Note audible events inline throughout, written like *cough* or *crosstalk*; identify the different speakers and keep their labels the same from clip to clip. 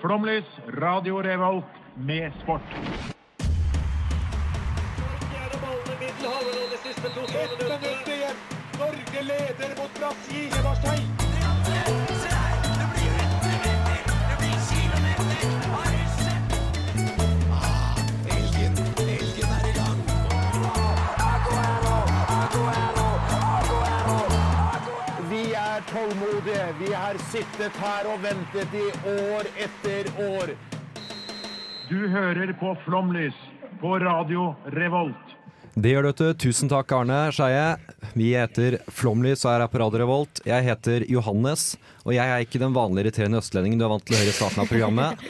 Speaker 1: Flomlys, Radio Revolt, med sport.
Speaker 2: Fjerde ballen i Middelhavet, og det siste to
Speaker 3: Ett minutt igjen. Norge leder mot Brasil. Det var seg. Vi er tålmodige. Vi har sittet her og ventet i år etter år.
Speaker 1: Du hører på Flomlys på Radio Revolt.
Speaker 4: Det gjør du, vet du. Tusen takk, Arne Skeie. Vi heter Flomlys og er her på Radio Revolt. Jeg heter Johannes, og jeg er ikke den vanlige irriterende østlendingen du er vant til å høre i starten av programmet.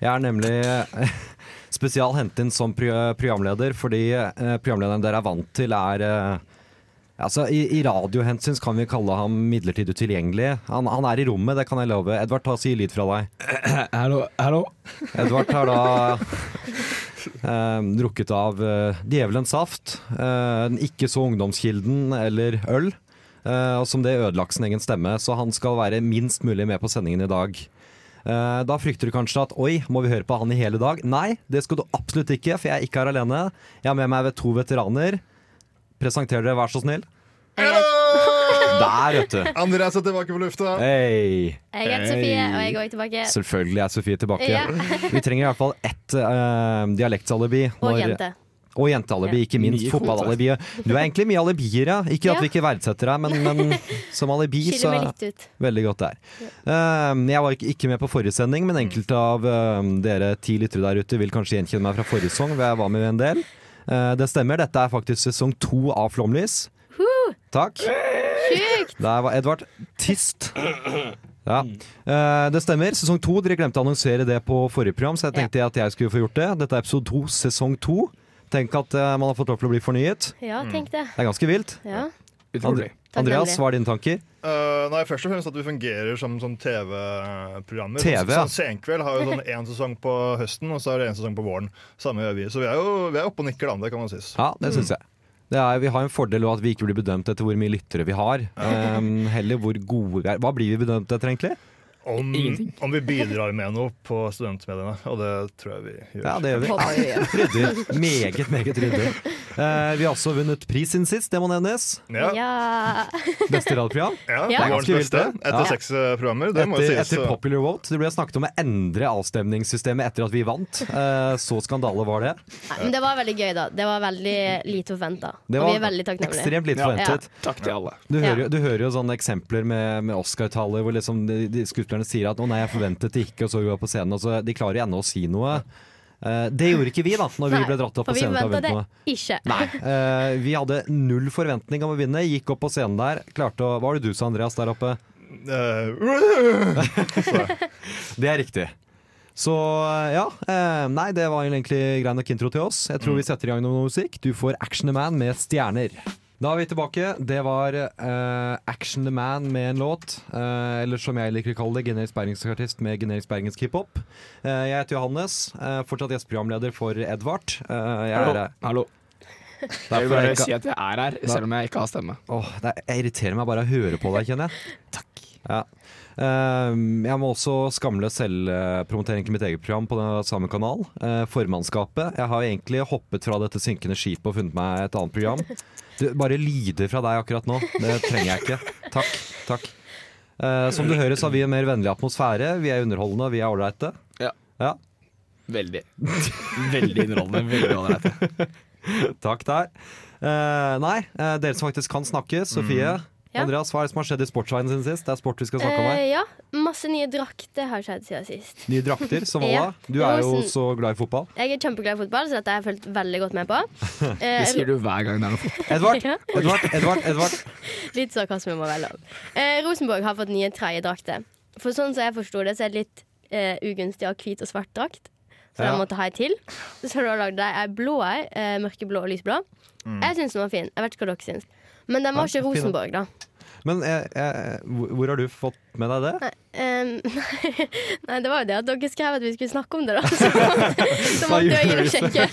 Speaker 4: Jeg er nemlig eh, spesial hentet inn som pro- programleder, fordi eh, programlederen dere er vant til, er eh, Altså, I, i radiohensyn så kan vi kalle ham midlertidig utilgjengelig. Han, han er i rommet, det kan jeg love. Edvard, ta og si lyd fra deg.
Speaker 5: Hallo, hallo.
Speaker 4: Edvard har da eh, drukket av eh, djevelens saft, eh, den ikke så ungdomskilden eller øl, eh, og som det ødelagt sin egen stemme, så han skal være minst mulig med på sendingen i dag. Eh, da frykter du kanskje at oi, må vi høre på han i hele dag? Nei, det skal du absolutt ikke, for jeg er ikke her alene. Jeg har med meg to veteraner. Presenter dere, vær så snill. Der, vet du.
Speaker 6: Andreas er tilbake på lufta.
Speaker 4: Hei.
Speaker 7: Jeg heter Sofie, og jeg går tilbake.
Speaker 4: Selvfølgelig er Sofie tilbake.
Speaker 7: Ja. *laughs*
Speaker 4: Vi trenger i hvert fall ett eh, dialektsalibi.
Speaker 7: Og
Speaker 4: når-
Speaker 7: jente.
Speaker 4: Og jentealibi, ikke minst fotballalibiet. Du er egentlig mye alibier, ja. Ikke at
Speaker 7: Ja.
Speaker 4: vi ikke verdsetter deg, men,
Speaker 7: *laughs*
Speaker 4: men som alibi
Speaker 7: Skiller
Speaker 4: så
Speaker 7: meg litt ut.
Speaker 4: Veldig godt der. Ehm, jeg var ikke- ikke med på forrige sending, men enkelte av eh, dere ti lyttere der ute vil kanskje gjenkjenne meg fra forrige sesong, hvor jeg var med en del. Eh, det stemmer, dette er faktisk sesong to av Flomlys. Takk.
Speaker 7: Sjukt!
Speaker 4: Der var Edvard tist. Ja. Eh, det stemmer. Sesong to. Dere glemte å annonsere det på forrige program, så jeg tenkte at jeg skulle få gjort det. Dette er episode to, sesong to. Tenk at eh, man har fått lov til å bli fornyet.
Speaker 7: Ja, tenk det.
Speaker 4: Det er ganske vilt.
Speaker 7: Mm. Ja.
Speaker 4: Andre- Andreas, hva er dine tanker?
Speaker 6: Eh, nei, Først og fremst at vi fungerer som sånn TV-programmer.
Speaker 4: TV, ja.
Speaker 6: Sånn Senkveld har jo sånn én sesong på høsten, og så er det én sesong på våren. Samme gjør vi. Så vi er jo vi er oppe og nikker, da. Det kan man sies.
Speaker 4: Ja, det
Speaker 6: Mm.
Speaker 4: syns jeg. Det er, vi har en fordel av at vi ikke blir bedømt etter hvor mye lyttere vi har. Em, heller hvor gode vi er. Hva blir vi bedømt etter, egentlig?
Speaker 6: Om, om vi bidrar med noe på studentmediene, og det tror jeg vi gjør.
Speaker 4: Ja, det gjør vi.
Speaker 7: Håper vi gjør.
Speaker 4: Ryddig. Meget, meget ryddig. Eh, vi har også vunnet pris siden sist, det må nevnes.
Speaker 6: Ja, ja.
Speaker 7: Ja.
Speaker 4: Beste radioprogram.
Speaker 7: Ja.
Speaker 6: Vårens
Speaker 4: Ganske vilt,
Speaker 6: beste
Speaker 4: det.
Speaker 6: etter
Speaker 4: Ja.
Speaker 6: seks eh, programmer. Det må jo
Speaker 4: Etter,
Speaker 6: sies.
Speaker 4: etter Popular Vote. Det ble snakket om å endre avstemningssystemet etter at vi vant. Eh, så skandale var det.
Speaker 7: Nei, Men det var veldig gøy, da. Det var veldig lite forventa.
Speaker 4: Det
Speaker 7: Og vi
Speaker 4: var
Speaker 7: er veldig takknemlige.
Speaker 4: ekstremt lite
Speaker 5: Ja.
Speaker 4: forventet.
Speaker 5: Takk til alle.
Speaker 4: Du hører,
Speaker 7: Ja.
Speaker 4: jo- du hører jo sånne eksempler med, med Oscar-taler hvor liksom de, de skuespillerne sier at 'å nei, jeg forventet det ikke', og så går jeg på scenen, og så de klarer ennå å si noe. Eh, det gjorde ikke vi, da, når vi
Speaker 7: Nei,
Speaker 4: ble dratt opp på
Speaker 7: For vi
Speaker 4: scenen. til å
Speaker 7: venta
Speaker 4: vente
Speaker 7: det
Speaker 4: noe.
Speaker 7: ikke.
Speaker 4: Nei. Eh, vi hadde null forventning om å vinne, gikk opp på scenen der, klarte å Hva var det du sa, Andreas, der oppe?
Speaker 6: Eh,
Speaker 4: Det er riktig. Så ja. Eh, nei, det var egentlig grei nok intro til oss. Jeg tror vi setter i gang noe musikk. Du får Action the Man med stjerner. Da er vi tilbake. Det var eh, Action the Man med en låt. Eh, eller som jeg liker å kalle det, generisk bergensk artist med generisk bergensk hiphop. Eh, jeg heter Johannes. Eh, fortsatt gjesteprogramleder for Edvard. Eh, jeg er,
Speaker 5: Hallo. Hallo. Jeg vil
Speaker 4: derfor er
Speaker 5: bare
Speaker 4: jeg ikke-
Speaker 5: si at jeg er her, selv om jeg ikke har stemme.
Speaker 4: Åh, det er, jeg irriterer meg bare av å høre på deg, kjenner jeg. Takk. Ja. Ehm, jeg må også skamle selvpromotering til mitt eget program på den samme kanal. eh, formannskapet. Jeg har egentlig hoppet fra dette synkende skipet og funnet meg et annet program. Du, bare lyder fra deg akkurat nå. Det trenger jeg ikke. Takk. takk. Eh, som du hører, så har vi en mer vennlig atmosfære. Vi er underholdende, og vi er ålreite.
Speaker 5: Ja.
Speaker 4: Ja.
Speaker 5: Veldig. Veldig underholdende. Veldig ålreit.
Speaker 4: *laughs* Takk der. Eh, nei, eh, dere som faktisk kan snakke. Sofie.
Speaker 7: Mm. Ja.
Speaker 4: Andreas, hva er det som har skjedd i sportsverdenen siden sist? Det er sport vi skal snakke om her.
Speaker 7: Eh, ja, masse nye drakter har skjedd siden sist.
Speaker 4: Nye drakter, som alle.
Speaker 7: *laughs* Ja.
Speaker 4: Du er jo
Speaker 7: Rosen-
Speaker 4: så glad i fotball.
Speaker 7: Jeg er kjempeglad i fotball, så dette har jeg fulgt veldig godt
Speaker 4: *laughs*
Speaker 7: med på.
Speaker 5: Det
Speaker 7: Eh,
Speaker 5: sier du hver gang det er noe fotball.
Speaker 4: Edvard,
Speaker 7: *laughs* Ja.
Speaker 4: Edvard, Edvard, Edvard.
Speaker 7: Litt sarkasme må være lov. Eh, Rosenborg har fått nye tredjedrakter. For sånn som jeg forsto det, så er det litt eh, ugunstig å ha hvit og svart drakt. Så
Speaker 4: Ja.
Speaker 7: de måtte ha ei til. Så da lagde de ei blå ei. Eh, mørkeblå og lysblå. Jeg syns den var fin. Jeg vet ikke hva dere syns. Men den var
Speaker 4: Mm. Ja,
Speaker 7: ikke
Speaker 4: fin, da.
Speaker 7: Rosenborg, da.
Speaker 4: Men eh, eh, hvor hvor har du fått med deg det?
Speaker 7: Nei, Ehm, nei, *laughs* nei, det var jo det at dere skrev at vi skulle snakke om det,
Speaker 4: *laughs*
Speaker 7: da. Så, så måtte jeg inn og sjekke. *laughs*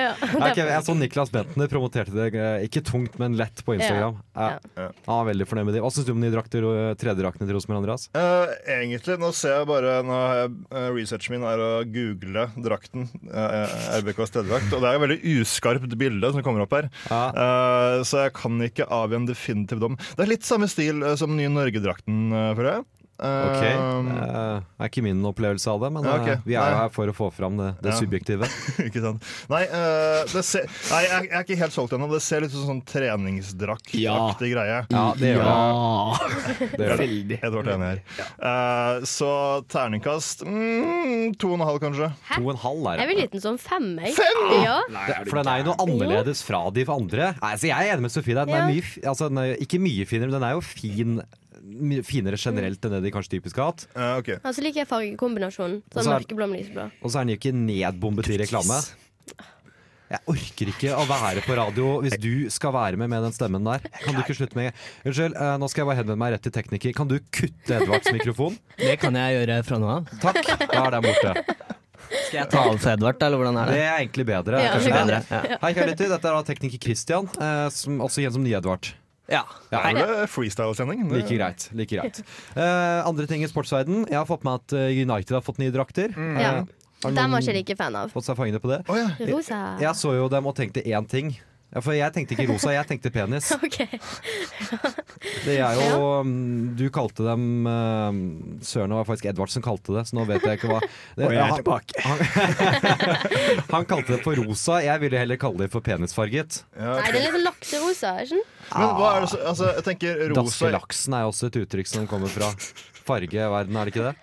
Speaker 7: Ja,
Speaker 4: Nei, sånn. ok, jeg så Niklas Bentner promoterte det eh, ikke tungt, men lett på Instagram. Ja.
Speaker 6: Ja.
Speaker 4: Han var veldig fornøyd med de. Hva syns du om de drakter og tredjedraktene til Rosenborg Andreas?
Speaker 6: Eh, egentlig, nå ser jeg bare nå har jeg, eh, Researchen min er å google drakten. eh, RBKs tredjedrakt. Og det er et veldig uskarpt bilde som kommer opp her. Eh, så jeg kan ikke avgi en definitiv dom. Det er litt samme stil eh, som den nye Norge-drakten, eh, føler jeg.
Speaker 4: Ok,
Speaker 6: Eh,
Speaker 4: eh, er ikke min opplevelse av det, men
Speaker 6: Ja, ok.
Speaker 4: eh, vi er jo
Speaker 6: Nei.
Speaker 4: her for å få fram det, det
Speaker 6: Ja.
Speaker 4: subjektive.
Speaker 6: *laughs* ikke sant? Nei, eh, det ser, nei jeg, jeg er ikke helt solgt ennå. Det ser litt ut som sånn treningsdraktaktig
Speaker 5: Ja.
Speaker 6: greie.
Speaker 4: Ja, det gjør det.
Speaker 5: ja.
Speaker 4: det, gjør det.
Speaker 5: Veldig.
Speaker 6: Jeg tror det er enig her. Eh, så terningkast mm, to og en halv, kanskje.
Speaker 4: To og en halv er
Speaker 7: Jeg
Speaker 4: det.
Speaker 7: vil liten sånn fem, jeg. Fem? Ja.
Speaker 4: Det- For den er jo noe annerledes fra de andre. Nei, så jeg er enig med Sofie. Den er
Speaker 7: Ja.
Speaker 4: mye, fi- altså, den er, jo ikke mye finere, men den er jo fin, mye finere generelt enn det de kanskje typisk har hatt.
Speaker 6: Eh, ok.
Speaker 7: Og så Altså, liker jeg fargekombinasjonen.
Speaker 4: Og
Speaker 7: Sånn
Speaker 4: så er-
Speaker 7: mørkeblå med lyseblå.
Speaker 4: Og så er den jo ikke nedbombet i reklame. Jeg orker ikke å være på radio hvis du skal være med med den stemmen der. Kan du ikke slutte med Unnskyld, eh, nå skal jeg bare henvende meg rett til tekniker. Kan du kutte Edvards mikrofon?
Speaker 8: Det kan jeg gjøre fra nå av.
Speaker 4: Takk. Da er den borte.
Speaker 8: Skal jeg ta av for Edvard, eller hvordan er
Speaker 4: Det
Speaker 8: det?
Speaker 4: er egentlig bedre.
Speaker 7: Ja,
Speaker 4: kanskje.
Speaker 7: det er
Speaker 8: bedre, ja.
Speaker 4: Hei, kjære lytter. Dette er da tekniker Christian, eh, som, også igjen som ny-Edvard.
Speaker 8: Ja.
Speaker 4: Ja,
Speaker 6: Er det freestyle-sending? Det-
Speaker 4: Like greit. like greit Eh, Andre ting i sportsverdenen. Jeg har fått med at eh, United har fått nye drakter.
Speaker 5: Mm.
Speaker 7: Ja.
Speaker 4: Eh, har
Speaker 7: Den var
Speaker 4: noen
Speaker 7: ikke jeg like fan av.
Speaker 4: fått seg fangene på det?
Speaker 6: Å ja.
Speaker 7: Rosa.
Speaker 4: Jeg så jo dem og tenkte én ting. Ja, for jeg tenkte ikke rosa, jeg tenkte
Speaker 7: *laughs*
Speaker 4: penis.
Speaker 7: *laughs* OK.
Speaker 4: Det er jo mm, Du kalte dem uh, Søren, det var faktisk Edvard som kalte det, så nå vet jeg ikke hva det,
Speaker 5: *laughs* Og jeg er
Speaker 4: han-
Speaker 5: tilbake.
Speaker 4: Han, *laughs* han kalte det for rosa, jeg ville heller kalle det for penisfarget.
Speaker 7: Nei,
Speaker 6: Ja, ok.
Speaker 7: det er litt sånn lakserosa, er ikke den?
Speaker 6: Men hva er det så, altså, jeg tenker rosa
Speaker 4: Daskelaksen er jo også et uttrykk som kommer fra fargeverden, er det ikke det?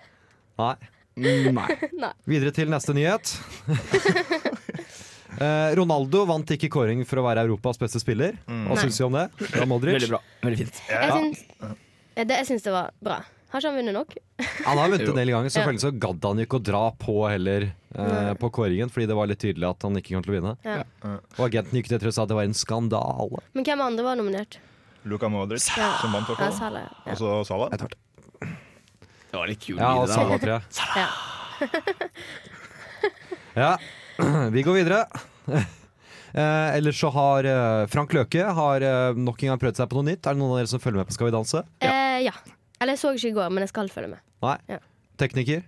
Speaker 4: Nei.
Speaker 5: Mm, Nei.
Speaker 4: Videre til neste nyhet. Eh, Ronaldo vant ikke kåring for å være Europas beste spiller. Hva
Speaker 7: Nei.
Speaker 4: syns vi om det? Fra Modric?
Speaker 5: Mm. Veldig bra. Veldig fint.
Speaker 7: Jeg syns, ja, det, jeg syns det var bra. Har ikke han vunnet nok?
Speaker 4: Han har vunnet en del ganger, så
Speaker 7: Ja.
Speaker 4: følgelig så gadd han ikke å dra på heller eh, på kåringen, fordi det var litt tydelig at han ikke kom til å vinne.
Speaker 7: Ja.
Speaker 4: Og agenten gikk til etter og sa at det var en skandale.
Speaker 7: Men hvem andre var nominert?
Speaker 6: Luka Modric,
Speaker 7: Ja.
Speaker 6: som vant i hvert
Speaker 7: Ja,
Speaker 6: fall.
Speaker 7: Salah. Ja.
Speaker 6: Og så Salah.
Speaker 5: Det var litt kul
Speaker 4: Ja, og
Speaker 5: video
Speaker 4: Salah,
Speaker 5: der.
Speaker 4: tror jeg.
Speaker 7: Ja.
Speaker 4: *laughs* Ja. *clears throat* Vi går videre. *laughs* Eh, ellers så har eh, Frank Løke har eh, nok en gang prøvd seg på noe nytt. Er det noen av dere som følger med på Skal vi danse?
Speaker 7: Eh, ja. Eller jeg så ikke i går, men jeg skal følge med.
Speaker 4: Nei?
Speaker 7: Ja.
Speaker 4: Tekniker?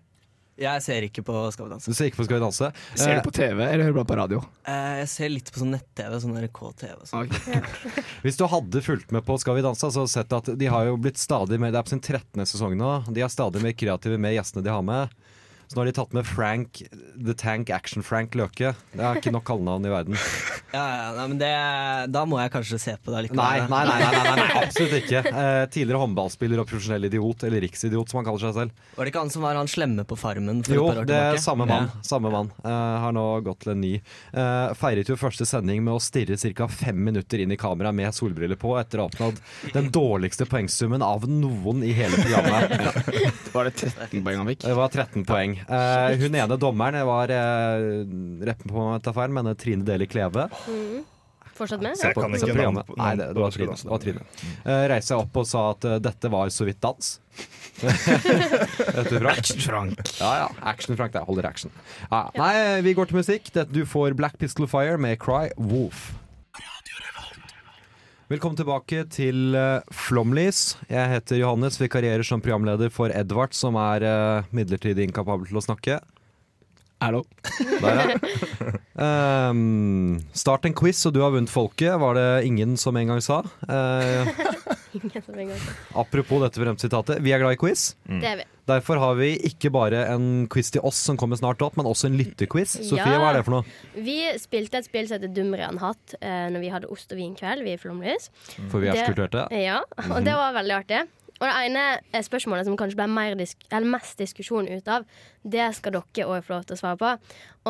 Speaker 8: Jeg ser ikke på Skal vi danse.
Speaker 4: Du ser ikke på Skal vi danse?
Speaker 5: Ser
Speaker 4: Eh,
Speaker 5: du på TV eller hører du bare på radio?
Speaker 8: Eh, Jeg ser litt på sånn nett-TV, sånn NRK-TV. og sånn.
Speaker 4: Hvis du hadde fulgt med på Skal vi danse, så hadde du sett at de har jo blitt stadig mer Det er på sin 13. sesong nå. De er stadig mer kreative med gjestene de har med. Så nå har de tatt med Frank The Tank Action-Frank Løke. Det er ikke nok kallenavn i verden.
Speaker 8: Ja, ja, nei, men det, da må jeg kanskje se på det likevel.
Speaker 4: Nei, nei, nei, nei, nei, nei absolutt ikke. Eh, tidligere håndballspiller og profesjonell idiot, eller riksidiot som han kaller seg selv.
Speaker 8: Var det ikke han som var han slemme på Farmen? For
Speaker 4: Jo,
Speaker 8: et par år
Speaker 4: det er
Speaker 8: tilbake?
Speaker 4: samme mann.
Speaker 8: Ja.
Speaker 4: Samme mann. Eh, har nå gått til en ny. Eh, feiret jo første sending med å stirre ca. fem minutter inn i kamera med solbriller på etter å ha oppnådd den dårligste poengsummen av noen i hele programmet. *laughs*
Speaker 5: Var det 13 poeng han fikk?
Speaker 4: Det var 13 poeng. Eh, hun ene dommeren var eh, reppen på meg ta feil, men Trine Deli Kleve.
Speaker 7: Fortsatt med?
Speaker 6: Se. Jeg kan
Speaker 4: Se
Speaker 6: ikke
Speaker 4: programmet.
Speaker 6: navn på-
Speaker 4: Nei, det, det var
Speaker 6: navn på
Speaker 4: Trine.
Speaker 6: dansen.
Speaker 4: Det var Trine. Eh, reiste seg opp og sa at eh, dette var så vidt dans.
Speaker 6: *laughs*
Speaker 4: Vet du, Frank?
Speaker 5: Frank.
Speaker 4: Ja, ja. Action, Frank. Det holder action. Ja. Nei, vi går til musikk. Dette- Du får Black Pistol Fire med Cry Wolf. Velkommen tilbake til eh, Flomlys. Jeg heter Johannes, vikarierer som programleder for Edvard, som er eh, midlertidig inkapabel til å snakke.
Speaker 5: Hallo.
Speaker 4: Der, ja. *laughs* Ehm, start en quiz, og du har vunnet folket, var det ingen som en gang sa. Eh,
Speaker 7: *laughs* Ingen som engang.
Speaker 4: apropos dette berømte sitatet, vi er glad i quiz.
Speaker 7: Det er vi.
Speaker 4: Derfor har vi ikke bare en quiz til oss som kommer snart opp, men også en lytterquiz. Sofie,
Speaker 7: Ja.
Speaker 4: hva er det for noe?
Speaker 7: Vi spilte et spill som heter Dumrian hatt eh, Når vi hadde ost og vin kveld Vi i Flomlys
Speaker 4: For vi er
Speaker 7: Det-
Speaker 4: så kulturerte.
Speaker 7: Ja, og det var veldig artig Og det ene eh, spørsmålet som kanskje ble mer disk eller mest diskusjon ut av Det skal dere også få lov til å svare på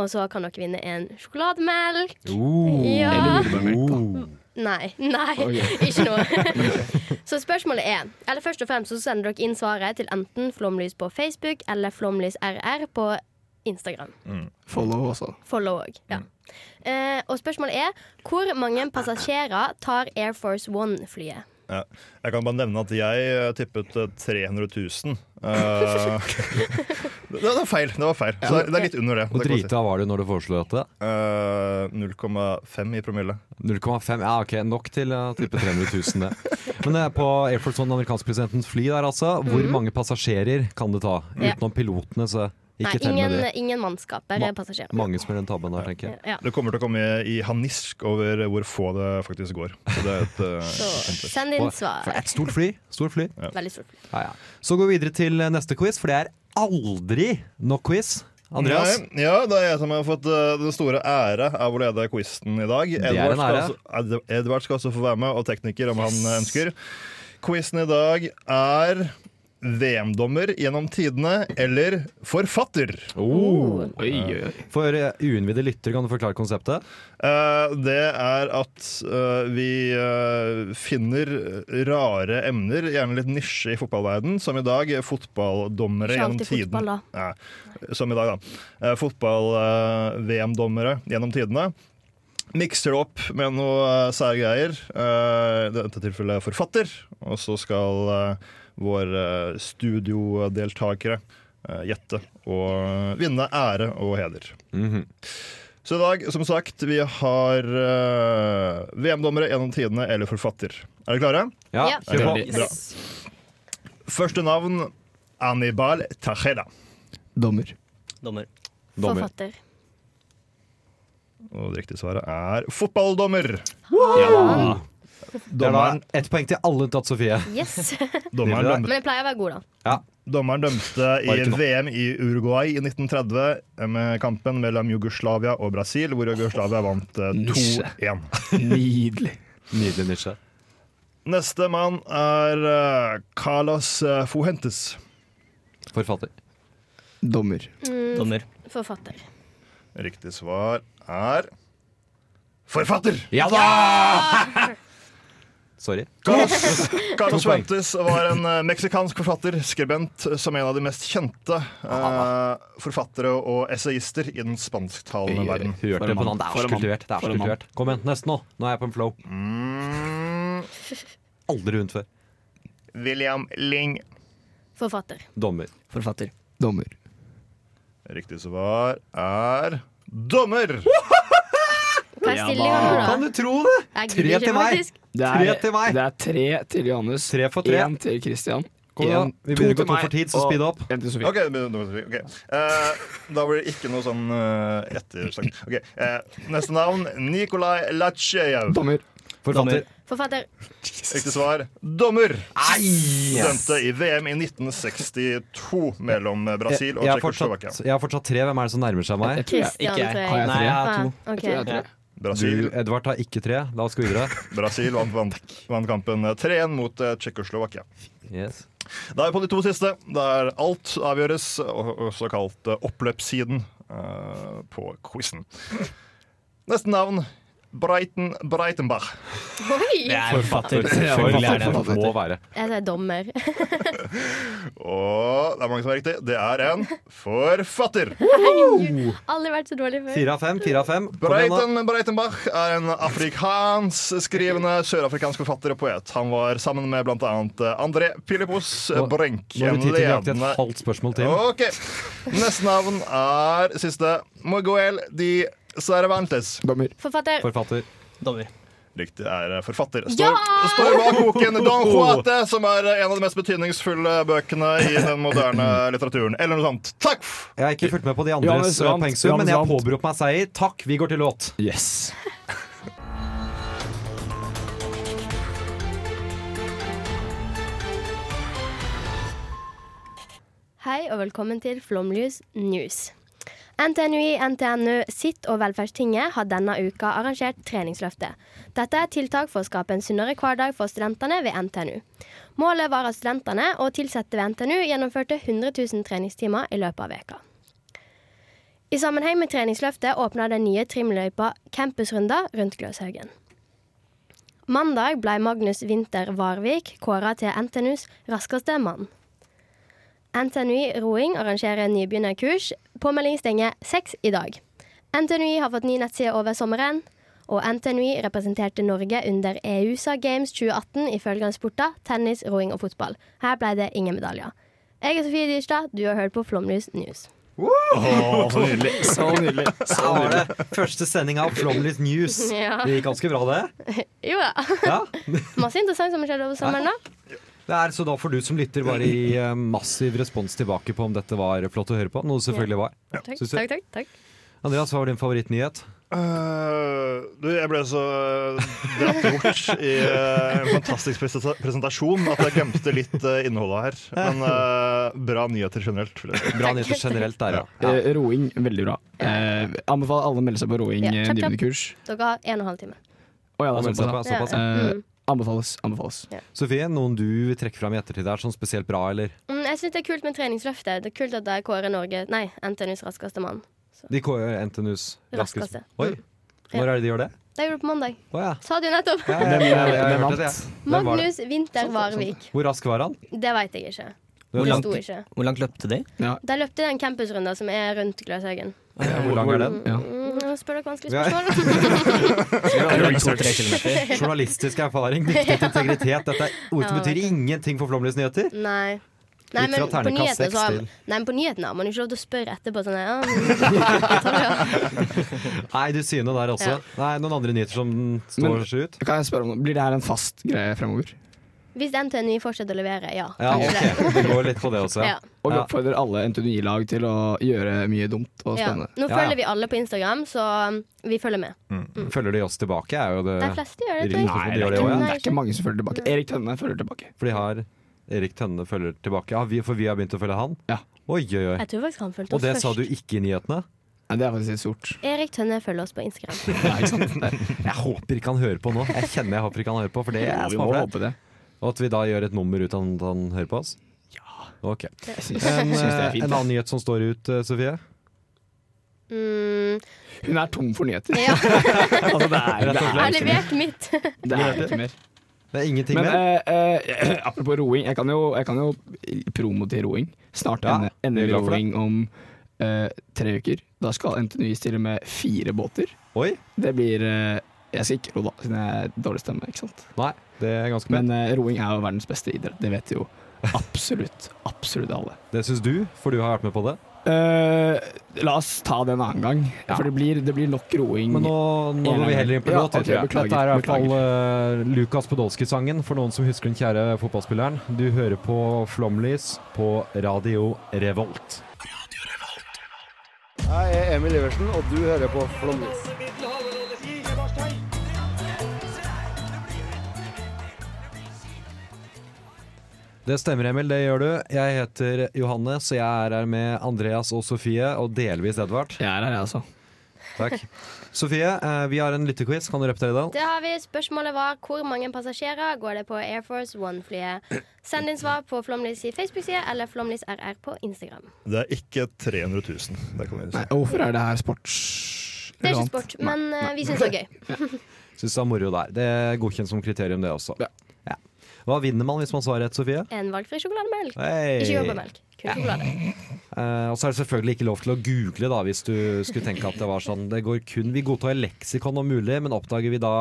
Speaker 7: Og så kan dere vinne en sjokolademelk
Speaker 4: Oh.
Speaker 7: Ja.
Speaker 5: Eller jordbærmelk, da.
Speaker 7: Nei, *laughs* nei, ikke
Speaker 4: *laughs*
Speaker 7: noe Så spørsmålet er Eller først og fremst så sender dere inn svaret til enten Flomlys på Facebook Eller Flomlys RR på Instagram
Speaker 5: Follow også.
Speaker 7: Follow òg.
Speaker 4: Mm.
Speaker 7: Ja. Eh, og spørsmålet er hvor mange passasjerer tar Air Force One-flyet?
Speaker 6: Ja. Jeg kan bare nevne at jeg eh, tippet eh, 300
Speaker 4: *laughs*
Speaker 6: 000. Eh, *laughs* det, det var feil. Det var feil. Så det, er- det er litt under det.
Speaker 4: Hvor
Speaker 6: det kan jeg si.
Speaker 4: drita var du når du foreslo dette?
Speaker 6: Eh, 0,5 i promille.
Speaker 4: 0,5? Ja, ok, nok til å tippe 300 000 det. Men det er på Air Force One, amerikansk presidentens fly der altså, hvor mange passasjerer kan det ta?
Speaker 7: Mhm. Ja.
Speaker 4: Utenom pilotene, så
Speaker 7: Nei,
Speaker 4: ikke tell med
Speaker 7: ingen,
Speaker 4: det.
Speaker 7: ingen mannskap. Bare
Speaker 4: Ma-
Speaker 7: passasjerer.
Speaker 4: Mange som gjør den tabben der, tenker jeg.
Speaker 7: Ja.
Speaker 6: Det kommer til å komme i harnisk over hvor få det faktisk går. Så det er et eh,
Speaker 4: *laughs*
Speaker 7: Så
Speaker 6: fint tips.
Speaker 7: send inn svar.
Speaker 4: For det er et stort fly. Stort fly.
Speaker 7: Veldig stort.
Speaker 4: Ja, ja. Så går vi videre til eh, neste quiz, for det er aldri nok quiz. Andreas?
Speaker 6: Nei, ja, det er jeg som har fått eh, den store ære av å lede quizen i dag.
Speaker 4: er en
Speaker 6: skal
Speaker 4: ære.
Speaker 6: altså- Ed- Edvard skal også få være med, og tekniker om han eh, ønsker. Quizen i dag er VM-dommer gjennom tidene eller forfatter.
Speaker 4: Oh.
Speaker 5: Oi, oi, oi.
Speaker 4: For eh, uinnvidde lytter, kan du forklare konseptet?
Speaker 6: Eh, det er at eh, vi eh, finner rare emner, gjerne litt nisje i fotballverden, som i dag er fotballdommere
Speaker 7: Ikke
Speaker 6: gjennom
Speaker 7: alltid
Speaker 6: tiden.
Speaker 7: fotball, da.
Speaker 6: Nei, som i dag, da. Eh, Fotball-VM-dommere gjennom tidene. Mikser det opp med noe eh, sære greier. eh, I dette tilfellet forfatter. Og så skal eh, våre eh, studiodeltakere eh, gjette og vinne ære og heder.
Speaker 4: Mhm.
Speaker 6: Så i dag, som sagt, vi har eh, VM-dommere gjennom tidene eller forfatter. Er dere klare?
Speaker 7: Ja.
Speaker 4: kjør på.
Speaker 5: Veldig.
Speaker 6: Bra. Første navn Anibal Tajeda.
Speaker 5: Dommer.
Speaker 8: Dommer.
Speaker 4: Dommer.
Speaker 7: Forfatter.
Speaker 6: Og det riktige svaret er fotballdommer.
Speaker 4: Ja. Det er da
Speaker 6: Dommeren,
Speaker 4: ett poeng til alle unntatt Sofie. *laughs*
Speaker 7: Yes.
Speaker 6: dommeren,
Speaker 4: Nydelig,
Speaker 6: dømte,
Speaker 7: Men jeg pleier å være god, da.
Speaker 6: dommeren dømte
Speaker 4: Var
Speaker 6: i
Speaker 4: ikke noe.
Speaker 6: VM i Uruguay i 1930 med kampen mellom Jugoslavia og Brasil, hvor Jugoslavia vant eh,
Speaker 5: Nisje.
Speaker 6: 2-1.
Speaker 5: Nydelig.
Speaker 4: Nydelig nisje.
Speaker 6: Neste mann er eh, Carlos eh, Fuentes.
Speaker 4: Forfatter.
Speaker 5: Dommer.
Speaker 8: Dommer.
Speaker 7: Forfatter.
Speaker 6: Riktig svar er forfatter!
Speaker 4: Ja da! *laughs* Sorry.
Speaker 6: Carlos, *laughs* Carlos Fuentes var en eh, meksikansk forfatter, skribent, som en av de mest kjente eh, forfattere og essayister i den spansktalende
Speaker 5: Oi, oi.
Speaker 6: verden.
Speaker 4: Hørte
Speaker 5: For en
Speaker 4: på
Speaker 5: mann.
Speaker 4: navn. Det er
Speaker 5: For
Speaker 4: så
Speaker 5: en mann.
Speaker 4: kultivert. Det er
Speaker 5: For
Speaker 4: så
Speaker 5: en mann.
Speaker 4: kultivert. Kom igjen, nesten nå. Nå er jeg på en flow.
Speaker 6: Mm,
Speaker 4: Aldri rundt før.
Speaker 6: William Ling.
Speaker 7: Forfatter.
Speaker 4: Dommer.
Speaker 8: Forfatter.
Speaker 5: Dommer.
Speaker 6: Riktig svar er dommer.
Speaker 7: Hva er stillinga
Speaker 4: Kan
Speaker 7: nå, da?
Speaker 4: du tro det?
Speaker 7: Jeg
Speaker 4: Tre
Speaker 7: gidder
Speaker 4: til
Speaker 7: ikke,
Speaker 4: meg.
Speaker 7: faktisk.
Speaker 5: Det
Speaker 4: Tre til meg.
Speaker 5: Det er tre til Johannes.
Speaker 4: Tre for tre.
Speaker 5: En til Christian.
Speaker 4: Kom da,
Speaker 5: En-
Speaker 4: vi begynner å gå
Speaker 5: til
Speaker 4: tom
Speaker 5: meg,
Speaker 4: for tid, så
Speaker 5: og
Speaker 4: speed opp.
Speaker 5: En til Sofie.
Speaker 6: Ok, det blir nummer tre, ok. Eh, da blir det ikke noe sånn uh, ettersang. Ok, eh, neste navn Nikolai Latsjejev.
Speaker 5: Dommer.
Speaker 4: Forfatter.
Speaker 7: Forfatter.
Speaker 6: Riktig svar dommer. Dømte i VM i 1962 mellom Brasil og
Speaker 4: Jeg har fortsatt,
Speaker 6: Tsjekkoslovakia.
Speaker 4: jeg har fortsatt tre. Hvem er det som nærmer seg meg?
Speaker 5: Jeg tror jeg-
Speaker 7: Christian,
Speaker 8: Ikke jeg.
Speaker 7: tror
Speaker 5: Har jeg
Speaker 7: jeg.
Speaker 5: tre?
Speaker 8: Nei, jeg har to.
Speaker 7: Ah, ok.
Speaker 5: jeg tror jeg er tre.
Speaker 6: Brasil,
Speaker 4: Du, Edvard, har ikke tre. La oss gå videre.
Speaker 6: Brasil vant, vant, vant kampen 3-1 mot eh, Tsjekkoslovakia.
Speaker 4: Yes.
Speaker 6: Da er vi på de to siste, der alt avgjøres, og- også kalt eh, oppløpssiden eh, på quizen. Neste navn Breiten Breitenbach.
Speaker 8: Det
Speaker 7: Oi!
Speaker 8: er forfatter.
Speaker 4: Selvfølgelig
Speaker 8: Selvfølgelig er det.
Speaker 4: det. Må være.
Speaker 7: Jeg sier dommer. *laughs*
Speaker 6: Og det er mange som er riktig. Det er en forfatter.
Speaker 7: Aldri vært så dårlig før.
Speaker 4: Fire av fem. Fire av fem. Kom igjen, da.
Speaker 6: Breiten Breitenbach er en afrikanskskrivende sørafrikansk forfatter og poet. Han var sammen med bl.a. André Pilipos
Speaker 4: Nå-
Speaker 6: Brenk,
Speaker 4: Nå har
Speaker 6: en
Speaker 4: vi tid til nøyaktig
Speaker 6: ledende
Speaker 4: et halvt spørsmål til.
Speaker 6: Ok. Neste navn er siste. Miguel de Cervantes.
Speaker 5: Dommer.
Speaker 7: Forfatter.
Speaker 4: Forfatter.
Speaker 8: Dommer.
Speaker 6: Riktig er forfatter. Står,
Speaker 7: Ja!
Speaker 6: står bak boken Don Juate, som er en av de mest betydningsfulle bøkene i den moderne litteraturen. Eller noe sånt. Takk!
Speaker 4: Jeg har ikke fulgt med på de andres
Speaker 5: Johannes
Speaker 4: eh,
Speaker 5: vant.
Speaker 4: poengsum, men
Speaker 5: Johannes
Speaker 4: jeg
Speaker 5: vant.
Speaker 4: påberoper meg seier. Takk, vi går til låt.
Speaker 5: Yes.
Speaker 7: Hei og velkommen til Flomlys News. NTNUI, NTNU, sitt og Velferdstinget har denne uka arrangert Treningsløftet. Dette er et tiltak for å skape en sunnere hverdag for studentene ved NTNU. Målet var at studentene og ansatte ved NTNU gjennomførte 100 000 treningstimer i løpet av veka. I sammenheng med treningsløftet åpna den nye trimløypa Campusrunder rundt Gløshaugen. Mandag ble Magnus Winther Varvik kåra til NTNUs raskeste mann. NTNUI Roing arrangerer nybegynnerkurs. Påmelding stenger seks i dag. NTNUI har fått ny nettside over sommeren, Og NTNUI representerte Norge under E EUSA Games 2018 i følgende sporter tennis, roing og fotball. Her ble det ingen medaljer. Jeg er Sofie Dyrstad, du har hørt på Flomlys News.
Speaker 6: så nydelig.
Speaker 5: Så nydelig.
Speaker 4: Så var det første sending av Flomlys News.
Speaker 7: Ja.
Speaker 4: Det gikk ganske bra, det.
Speaker 7: Jo da.
Speaker 4: Ja.
Speaker 7: *laughs* Masse interessant som har skjedd over sommeren, da.
Speaker 4: Det er, så da får du som lytter bare gi eh, massiv respons tilbake på om dette var flott å høre på. Noe det selvfølgelig var.
Speaker 7: Takk,
Speaker 4: Synes du-
Speaker 7: takk, takk, takk.
Speaker 4: Andreas, hva var din favorittnyhet?
Speaker 6: Eh, du, jeg ble så dratt bort i eh, en fantastisk prese- presentasjon at jeg glemte litt eh, innholdet her. Men eh, bra nyheter generelt. Vil jeg si.
Speaker 4: Bra nyheter generelt der, ja.
Speaker 5: Eh, roing, veldig bra. Eh, anbefaler alle å melde seg på roing,
Speaker 7: Ja,
Speaker 5: eh,
Speaker 7: kjapp, kjapp.
Speaker 5: dybdekurs.
Speaker 7: Dere har en og en halv time.
Speaker 5: Å ja, det er
Speaker 4: Altså, Såpass,
Speaker 5: såpass,
Speaker 4: ja. Såpass, ja.
Speaker 5: ja. Eh,
Speaker 7: Mm.
Speaker 5: Anbefales. anbefales.
Speaker 4: Sofie, noen du vil trekke fram i ettertid er sånn spesielt bra, eller?
Speaker 7: Mm, jeg syns det er kult med treningsløftet. Det er kult at de kårer Norge Nei, NTNUs raskeste mann.
Speaker 4: De kårer NTNUs
Speaker 7: Raskeste.
Speaker 4: Oi, når er det de gjør det?
Speaker 7: Det gjorde du på mandag.
Speaker 4: Å ja.
Speaker 7: Sa du nettopp.
Speaker 4: Ja,
Speaker 5: Hvem-
Speaker 4: jeg- jeg- jeg-
Speaker 5: hvem
Speaker 4: jeg
Speaker 5: vant?
Speaker 4: hørte det, jeg. Hvem var det? Sånn,
Speaker 7: Magnus Winther Varvik.
Speaker 4: Hvor rask var han?
Speaker 7: Det veit jeg ikke.
Speaker 4: Hvor
Speaker 7: Det
Speaker 8: langt-
Speaker 7: sto ikke.
Speaker 8: Hvor langt løpte de?
Speaker 7: De løpte den campusrunden som er rundt Gløshaugen.
Speaker 4: Eh, Hvor lang er den?
Speaker 5: Ja.
Speaker 7: Mm, nå spør dere vanskelige
Speaker 4: Ja.
Speaker 7: spørsmål? *laughs*
Speaker 8: To-tre kilometer.
Speaker 4: Journalistisk erfaring, viktig integritet. Dette er ord som
Speaker 7: Ja,
Speaker 4: betyr
Speaker 7: vet
Speaker 4: ingenting for Flåmlys nyheter.
Speaker 7: Nei. Nei,
Speaker 4: Gikk
Speaker 7: men
Speaker 4: fra
Speaker 7: på
Speaker 4: ternekast
Speaker 7: nyhetene
Speaker 4: seks
Speaker 7: så har,
Speaker 4: til-
Speaker 7: nei, men på nyhetene har man jo ikke lov til å spørre etterpå. Sånn, ja, mm,
Speaker 4: Nei, du sier noe der også.
Speaker 7: Ja.
Speaker 4: Nei, Noen andre nyheter som står
Speaker 5: Men-
Speaker 4: seg ut?
Speaker 5: Kan jeg spørre om noe? Blir det her en fast greie fremover?
Speaker 7: Hvis NTNU fortsetter å levere, ja.
Speaker 4: Ja,
Speaker 7: kanskje det.
Speaker 4: ok. Det går litt på det også. Ja.
Speaker 7: Ja.
Speaker 5: Og vi
Speaker 4: Ja.
Speaker 5: oppfordrer alle NTNU-lag til å gjøre mye dumt og
Speaker 7: Ja.
Speaker 5: spennende.
Speaker 4: Ja,
Speaker 7: Nå
Speaker 4: ja.
Speaker 7: følger vi alle på Instagram, så um, vi følger med.
Speaker 4: Følger de oss tilbake, er jo det
Speaker 7: De fleste gjør det, tror jeg.
Speaker 4: Riktig som de gjør det
Speaker 5: Det
Speaker 4: også,
Speaker 5: er
Speaker 4: ja.
Speaker 7: Nei,
Speaker 5: ikke mange som følger tilbake. Erik Tønne følger tilbake.
Speaker 4: For de har Erik Tønne følger tilbake. Ja, vi, for vi har begynt å følge han?
Speaker 5: Ja.
Speaker 4: Oi, oi, oi.
Speaker 7: Jeg tror faktisk han fulgte
Speaker 4: Og
Speaker 7: oss
Speaker 4: det sa
Speaker 7: først.
Speaker 4: du ikke i nyhetene?
Speaker 5: Nei, det er faktisk litt stort.
Speaker 7: Erik Tønne følger oss på Instagram.
Speaker 5: Nei, ikke sant? Det,
Speaker 4: Jeg håper ikke han hører på nå. Jeg kjenner jeg håper ikke han hører på, for det er
Speaker 5: vi må
Speaker 4: småflaut.
Speaker 5: håpe det.
Speaker 4: Og at vi da gjør et nummer ut av at han hører på oss? Ja.
Speaker 7: *laughs*
Speaker 4: Ok.
Speaker 5: Jeg syns,
Speaker 4: En,
Speaker 5: syns det
Speaker 4: eh,
Speaker 5: er
Speaker 4: en
Speaker 5: fint.
Speaker 4: annen nyhet som står ut, eh, Sofie?
Speaker 7: Mm,
Speaker 5: Hun er tom for nyheter.
Speaker 4: *laughs*
Speaker 7: ja,
Speaker 5: Altså, det
Speaker 4: Rett
Speaker 5: er,
Speaker 4: og
Speaker 7: jeg
Speaker 5: det
Speaker 7: har
Speaker 5: er, ikke mer.
Speaker 7: levert mitt.
Speaker 5: det er ikke mer.
Speaker 4: Det er ingenting
Speaker 5: Men
Speaker 4: mer?
Speaker 5: eh, eh, *clears throat* apropos roing, jeg kan jo, jeg kan jo promo til roing. Snart
Speaker 4: Ja,
Speaker 5: ender-
Speaker 4: vi er
Speaker 5: ender
Speaker 4: glad for det.
Speaker 5: roing om eh, tre uker. Da skal NTNU stille med fire båter.
Speaker 4: Oi?
Speaker 5: Det blir eh, Jeg skal ikke ro, da, siden jeg er dårlig stemme. ikke sant?
Speaker 4: Nei, det er ganske bra.
Speaker 5: Men eh, roing er jo verdens beste idrett. Det vet jo absolutt *laughs* absolutt alle.
Speaker 4: Det syns du, for du har vært med på det.
Speaker 5: Eh, la oss ta det en annen gang,
Speaker 4: Ja.
Speaker 5: for det blir, det blir nok roing.
Speaker 4: Men nå, nå går vi heller inn på
Speaker 5: Ja,
Speaker 4: låt.
Speaker 5: ok,
Speaker 4: jeg tror jeg.
Speaker 5: beklager,
Speaker 4: Dette er i hvert fall
Speaker 5: beklager.
Speaker 4: eh, Lukas Podolsky-sangen, for noen som husker den kjære fotballspilleren. Du hører på Flomlys på Radio Revolt.
Speaker 3: Jeg er Emil Iversen, og du hører på Flåmlys.
Speaker 2: Over Middelhavet nå, det stiger Barstein.
Speaker 4: Det stemmer, Emil. Det gjør du. Jeg heter Johannes, og jeg er her med Andreas og Sofie, og delvis Edvard.
Speaker 5: Jeg er her, jeg, altså.
Speaker 4: Takk. Sofie, eh, vi har en lyttequiz. Kan du repetere den?
Speaker 7: Det har vi. Spørsmålet var hvor mange passasjerer går det på Air Force One-flyet. Send inn svar på Flåmlys i Facebook-side eller Flåmlys RR på Instagram.
Speaker 6: Det er ikke 300 000. Det kan vi si.
Speaker 5: Nei, og hvorfor er det her sports...
Speaker 7: Det er ikke
Speaker 5: relevant?
Speaker 7: sport,
Speaker 5: Nei.
Speaker 7: men eh, vi syns det er gøy.
Speaker 4: Syns det er moro der. Det er godkjent som kriterium, det også.
Speaker 5: Ja.
Speaker 4: Ja. Hva vinner man hvis man svarer rett, Sofie?
Speaker 7: En valgfri sjokolademelk.
Speaker 4: Hey.
Speaker 7: Ikke jordbærmelk. Kun sjokolade.
Speaker 4: Eh, og så er det selvfølgelig ikke lov til å google da, hvis du skulle tenke at det var sånn. Det går kun, Vi godtar leksikon om mulig, men oppdager vi da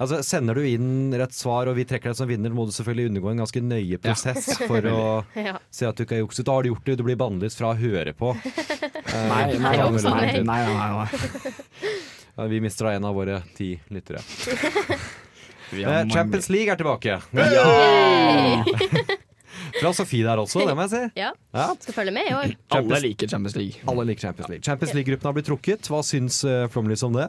Speaker 4: Altså, Sender du inn rett svar og vi trekker deg som vinner, må du selvfølgelig undergå en ganske nøye prosess for å
Speaker 7: Ja.
Speaker 4: se at du ikke har jukset. Da har du gjort det, du blir bannlyst fra å høre på.
Speaker 5: Nei, nei,
Speaker 7: jeg
Speaker 5: nei,
Speaker 7: håper
Speaker 5: nei,
Speaker 7: sånn.
Speaker 5: nei, nei, nei.
Speaker 4: Ja, Vi mister da en av våre ti lyttere.
Speaker 5: Vi
Speaker 4: Eh,
Speaker 5: har mange-
Speaker 4: Champions League er tilbake. Fra Sofie der også, det må jeg si.
Speaker 7: ja.
Speaker 4: Ja.
Speaker 7: Skal følge med i år.
Speaker 5: Alle liker Champions League.
Speaker 4: Alle liker Champions League. Champions League-gruppen har blitt trukket. Hva syns eh, Flomlys om det?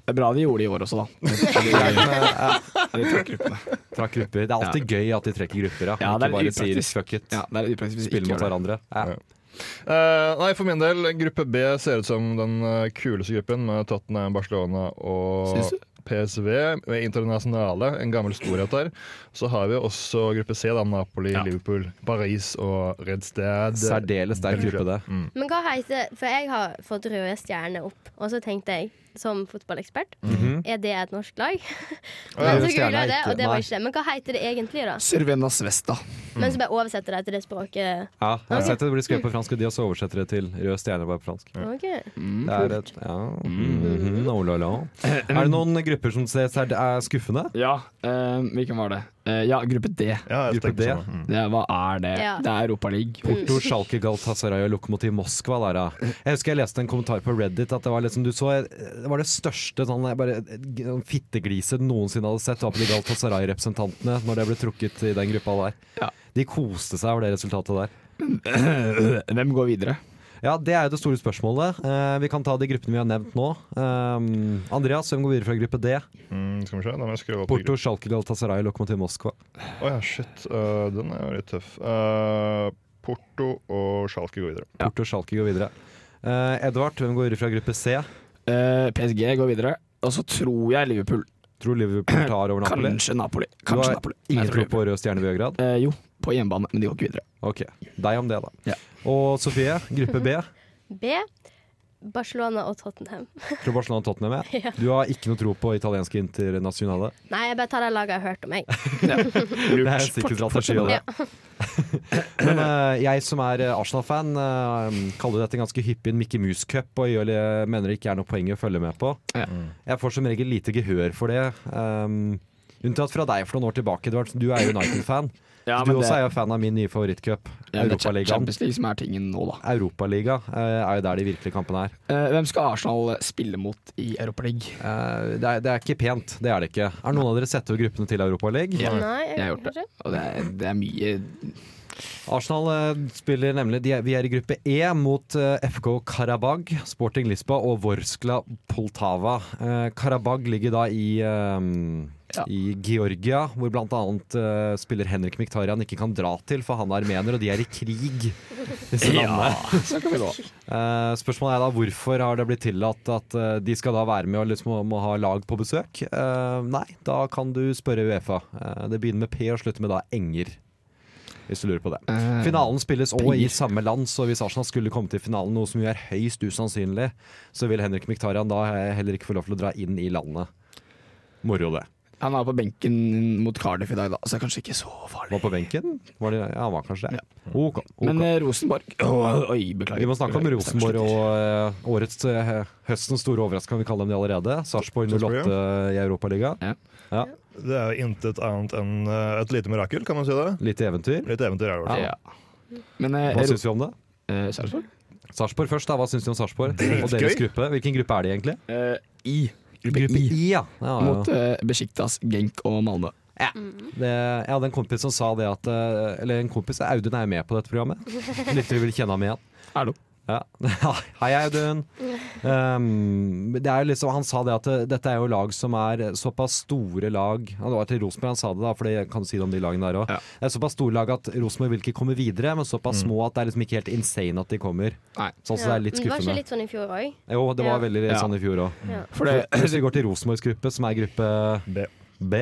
Speaker 5: Det er bra de gjorde det i år også, da. De trakk gruppene.
Speaker 4: Trakk grupper. Det er alltid gøy at de trekker grupper, ja.
Speaker 5: Ja,
Speaker 4: Og
Speaker 5: det er
Speaker 4: ikke bare sier
Speaker 5: upraktisk.
Speaker 4: fuck it.
Speaker 5: Ja, det er upraktisk hvis de
Speaker 4: Spille
Speaker 5: ikke
Speaker 4: mot
Speaker 5: gjør det.
Speaker 4: hverandre. Ja.
Speaker 6: Ja. Eh, nei, for min del, gruppe B ser ut som den eh, kuleste gruppen, med Tottenham, Barcelona
Speaker 5: Syns
Speaker 6: og
Speaker 5: du?
Speaker 6: PSV. Med Internasjonale, en gammel storhet der. Så har vi også gruppe C, da, Napoli,
Speaker 5: Ja.
Speaker 6: Liverpool, Paris og Red Stad.
Speaker 4: Særdeles sterk gruppe, det.
Speaker 7: Men hva heter For jeg har fått røde stjerner opp, og så tenkte jeg som fotballekspert. Er det et norsk lag?
Speaker 4: Ja,
Speaker 7: *laughs* Men så
Speaker 4: det Mhm. stjerner
Speaker 7: googlet jeg det,
Speaker 4: ikke.
Speaker 7: og det
Speaker 4: Nei. Mm.
Speaker 7: var ikke det. Men hva heter det egentlig, da?
Speaker 5: Sørvenas Vesta.
Speaker 7: Men så bare oversetter de til det språket.
Speaker 4: Ja, jeg har sett det blir skrevet på fransk, og de også oversetter det til rød stjerne bare på fransk.
Speaker 7: Ok.
Speaker 5: Mm.
Speaker 4: Det er et, ja, mhm, oh la la. Er det noen grupper som ses her, det er skuffende?
Speaker 5: Ja, eh, hvilken var det? Eh, ja, gruppe D.
Speaker 6: Ja, jeg
Speaker 4: Gruppe
Speaker 6: tenker
Speaker 4: D.
Speaker 6: på samme. Mm.
Speaker 5: Det, hva er det?
Speaker 7: Ja.
Speaker 5: Det er Europaligaen.
Speaker 4: Porto, Schalke, Galatasaray og Lokomotiv Moskva. Der, ja. Jeg husker jeg leste en kommentar på Reddit at det var liksom, du så, det var det største sånn, jeg bare, g- sånn fittegriset noensinne hadde sett var på de Galatasaray-representantene når det ble trukket i den gruppa der.
Speaker 5: Ja.
Speaker 4: De koste seg over det resultatet der.
Speaker 5: Hvem går videre?
Speaker 4: Ja, Det er jo det store spørsmålet. Eh, vi kan ta de gruppene vi har nevnt nå. Um, Andreas, hvem går videre fra gruppe D?
Speaker 6: Mm, skal vi se, da må jeg skru opp i
Speaker 4: Porto, Schalke, Galatasaray og Lokomotiv Moskva.
Speaker 6: Å ja, shit. eh, den er jo litt tøff. Eh, Porto og Schalke går videre.
Speaker 4: Porto, Schalke går videre. Eh, Edvard, hvem går videre fra gruppe C?
Speaker 5: Eh, PSG går videre. Og så tror jeg Liverpool.
Speaker 4: Tror Liverpool tar over Napoli?
Speaker 5: Kanskje Napoli.
Speaker 4: Du
Speaker 5: Kanskje
Speaker 4: har
Speaker 5: Napoli. Jeg
Speaker 4: ingen
Speaker 5: tror
Speaker 4: tro på
Speaker 5: Liverpool.
Speaker 4: Rød Stjerne Beograd?
Speaker 5: Eh, jo, på hjemmebane, men de går ikke videre.
Speaker 4: Ok, deg om det da.
Speaker 5: Ja.
Speaker 4: Og Sofie, gruppe B.
Speaker 7: B. Barcelona og Tottenham.
Speaker 4: Tror Barcelona og Tottenham er. med. Du har ikke noe tro på italienske internasjonale.
Speaker 7: Nei, jeg bare tar de lagene jeg har hørt om, jeg.
Speaker 4: Det er en sikker strategi. av det. Men eh, jeg som er eh, Arsenal-fan, eh, kaller dette ganske hyppig en Mickey Mouse Cup, og gjør, det- mener det ikke er noe poeng å følge med på.
Speaker 5: Ja.
Speaker 4: Jeg får som regel lite gehør for det. Um, unntatt fra deg for noen år tilbake, Edvard. Du er United-fan.
Speaker 5: Ja,
Speaker 4: du også er jo fan av min nye favorittcup,
Speaker 5: ja, det er
Speaker 4: Europaligaen.
Speaker 5: Champions League som er tingen nå, da.
Speaker 4: Europaliga eh, er jo der de virkelige kampene er.
Speaker 5: Eh, hvem skal Arsenal spille mot i Europaligaen?
Speaker 4: Eh, det, er, det er ikke pent, det er det ikke. Er noen av dere sett over gruppene til Europaligaen?
Speaker 5: Ja.
Speaker 7: Nei,
Speaker 5: Jeg har gjort det. Og det er, det er mye
Speaker 4: Arsenal eh, spiller nemlig de er, Vi er i gruppe E mot eh, FK Karabag, Sporting Lisboa og Vorskla Poltava. Eh, Karabag ligger da i eh,
Speaker 5: Ja.
Speaker 4: I Georgia, hvor bl.a. Uh, spiller Henrik Miktarian ikke kan dra til, for han er armener, og de er i krig. Disse landene.
Speaker 5: Så kan vi gå.
Speaker 4: Eh, spørsmålet er da hvorfor har det blitt tillatt at eh, de skal da være med og liksom må, må ha lag på besøk? Eh, nei, da kan du spørre Uefa. Eh, det begynner med P og slutter med da Enger. Hvis du lurer på det.
Speaker 5: Eh,
Speaker 4: Finalen spilles òg i
Speaker 5: Penger.
Speaker 4: samme land, så hvis Arsenal skulle komme til finalen, noe som jo er høyst usannsynlig, så vil Henrik Miktarian da eh, heller ikke få lov til å dra inn i landet. Moro, det.
Speaker 5: Han var på benken mot Cardiff i dag, da, så det er kanskje ikke så farlig.
Speaker 4: Var på benken? Var det, ja, han var kanskje det. Ok. ok.
Speaker 5: Men eh, Rosenborg Å, Oi, beklager.
Speaker 4: Vi må snakke om
Speaker 5: Beklager,
Speaker 4: Rosenborg og eh, årets eh, høstens store overraskelse, kan vi kalle dem det allerede. Sarpsborg 08 i Europaligaen.
Speaker 5: Ja.
Speaker 4: Ja.
Speaker 6: Det er jo intet annet enn eh, et lite mirakel, kan man si det.
Speaker 4: Litt eventyr.
Speaker 6: Litt eventyr er det i hvert fall.
Speaker 5: Ja. Men eh,
Speaker 4: Hva
Speaker 5: Ro-
Speaker 4: syns vi om det?
Speaker 5: eh, Sarpsborg?
Speaker 4: Sarpsborg først, da. Hva syns du om Sarpsborg og deres
Speaker 6: Dritgøy.
Speaker 4: gruppe? Hvilken gruppe er de egentlig?
Speaker 5: Eh, I. Gruppe I.
Speaker 4: ja. Ja, ja.
Speaker 5: Mot eh, Besiktas, Genk og Malmö.
Speaker 4: Det, jeg hadde en kompis som sa det at eh, Eller en kompis, Audun er jo med på dette programmet. Lyttere vil kjenne ham igjen.
Speaker 5: Hallo.
Speaker 4: Ja. *laughs* Hei, Audun. Um, det er jo liksom, han sa det at eh, dette er jo lag som er såpass store lag ja, Det var til Rosenborg han sa det, da, for det kan du si det om de lagene der òg.
Speaker 5: Ja.
Speaker 4: Det er såpass store lag at Rosenborg vil ikke komme videre, men såpass små at det er liksom ikke helt insane at de kommer.
Speaker 5: Nei.
Speaker 4: Sånn som det er litt
Speaker 7: Men var ikke
Speaker 4: skuffende.
Speaker 7: litt sånn i fjor òg?
Speaker 4: Jo, det var
Speaker 7: Ja.
Speaker 4: veldig
Speaker 5: Ja.
Speaker 4: sånn i fjor òg.
Speaker 5: For det,
Speaker 4: Hvis vi går til Rosenborgs gruppe, som er gruppe
Speaker 6: B.
Speaker 4: B,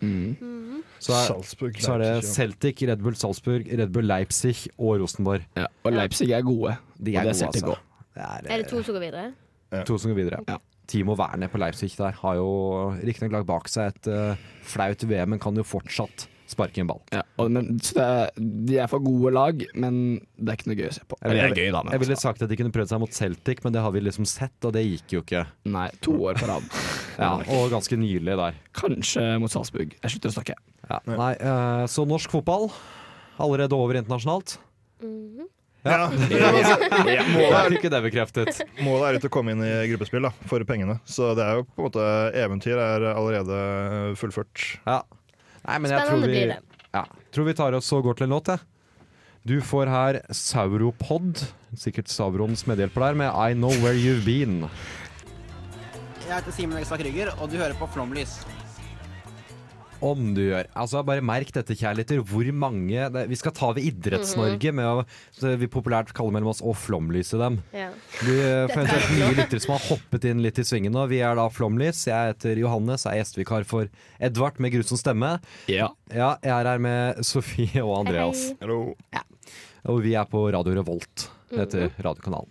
Speaker 7: Mm.
Speaker 4: så er,
Speaker 6: Salzburg.
Speaker 4: så er det
Speaker 6: Leipzig, ja.
Speaker 4: Celtic, Red Bull Salzburg, Red Bull Leipzig og Rosenborg.
Speaker 5: ja, og Leipzig er gode.
Speaker 4: De
Speaker 5: og
Speaker 4: er gode,
Speaker 5: det er Celtic
Speaker 4: altså.
Speaker 5: også.
Speaker 4: Det er,
Speaker 7: Er det to som går videre?
Speaker 4: to som går videre.
Speaker 5: Ja.
Speaker 4: Timo Werner på Leipzig der har jo riktignok lagt bak seg et eh, flaut VM, men kan jo fortsatt sparke en ball.
Speaker 5: Ja, og, men, så det er, de er for gode lag, men det er ikke noe gøy å se på. Eller, det er gøy, da, men
Speaker 4: Jeg ville
Speaker 5: altså.
Speaker 4: sagt at de kunne prøvd seg mot Celtic, men det har vi liksom sett, og det gikk jo ikke.
Speaker 5: Nei, to år på rad.
Speaker 4: Ja, og ganske nylig der.
Speaker 5: Kanskje mot Salzburg. Jeg slutter å snakke.
Speaker 4: Ja. Nei, eh, så norsk fotball allerede over internasjonalt.
Speaker 6: *laughs* Ja, målet,
Speaker 4: Jeg fikk ikke det bekreftet.
Speaker 6: er, målet er ikke å komme inn i gruppespill da, for pengene. Så det er jo på en måte Eventyr er allerede fullført.
Speaker 4: Ja. Nei, men jeg tror
Speaker 7: Spennende
Speaker 4: vi,
Speaker 7: blir det.
Speaker 4: ja, tror vi tar oss og går til en låt, jeg. Du får her Sauropod, sikkert Savrons medhjelper der, med I Know Where You've Been.
Speaker 9: Jeg heter Simen Ekstad Krygger, og du hører på Flomlys.
Speaker 4: Om du gjør. Altså Bare merk dette, kjærligheter. Hvor mange det, Vi skal ta ved
Speaker 5: Mhm.
Speaker 4: Idretts-Norge med å så vi populært kaller mellom oss å flomlyse dem.
Speaker 7: Ja.
Speaker 4: Vi eh, får eventuelt nye lyttere som har hoppet inn litt i svingen nå. Vi er da Flomlys. Jeg heter Johannes, er gjestevikar for Edvard med grusom stemme.
Speaker 5: Ja.
Speaker 4: Ja, jeg er her med Sofie og Andreas.
Speaker 7: Hei, hei.
Speaker 6: Hallo.
Speaker 4: Og vi er på Radio Revolt. heter
Speaker 5: Mhm.
Speaker 4: radiokanalen.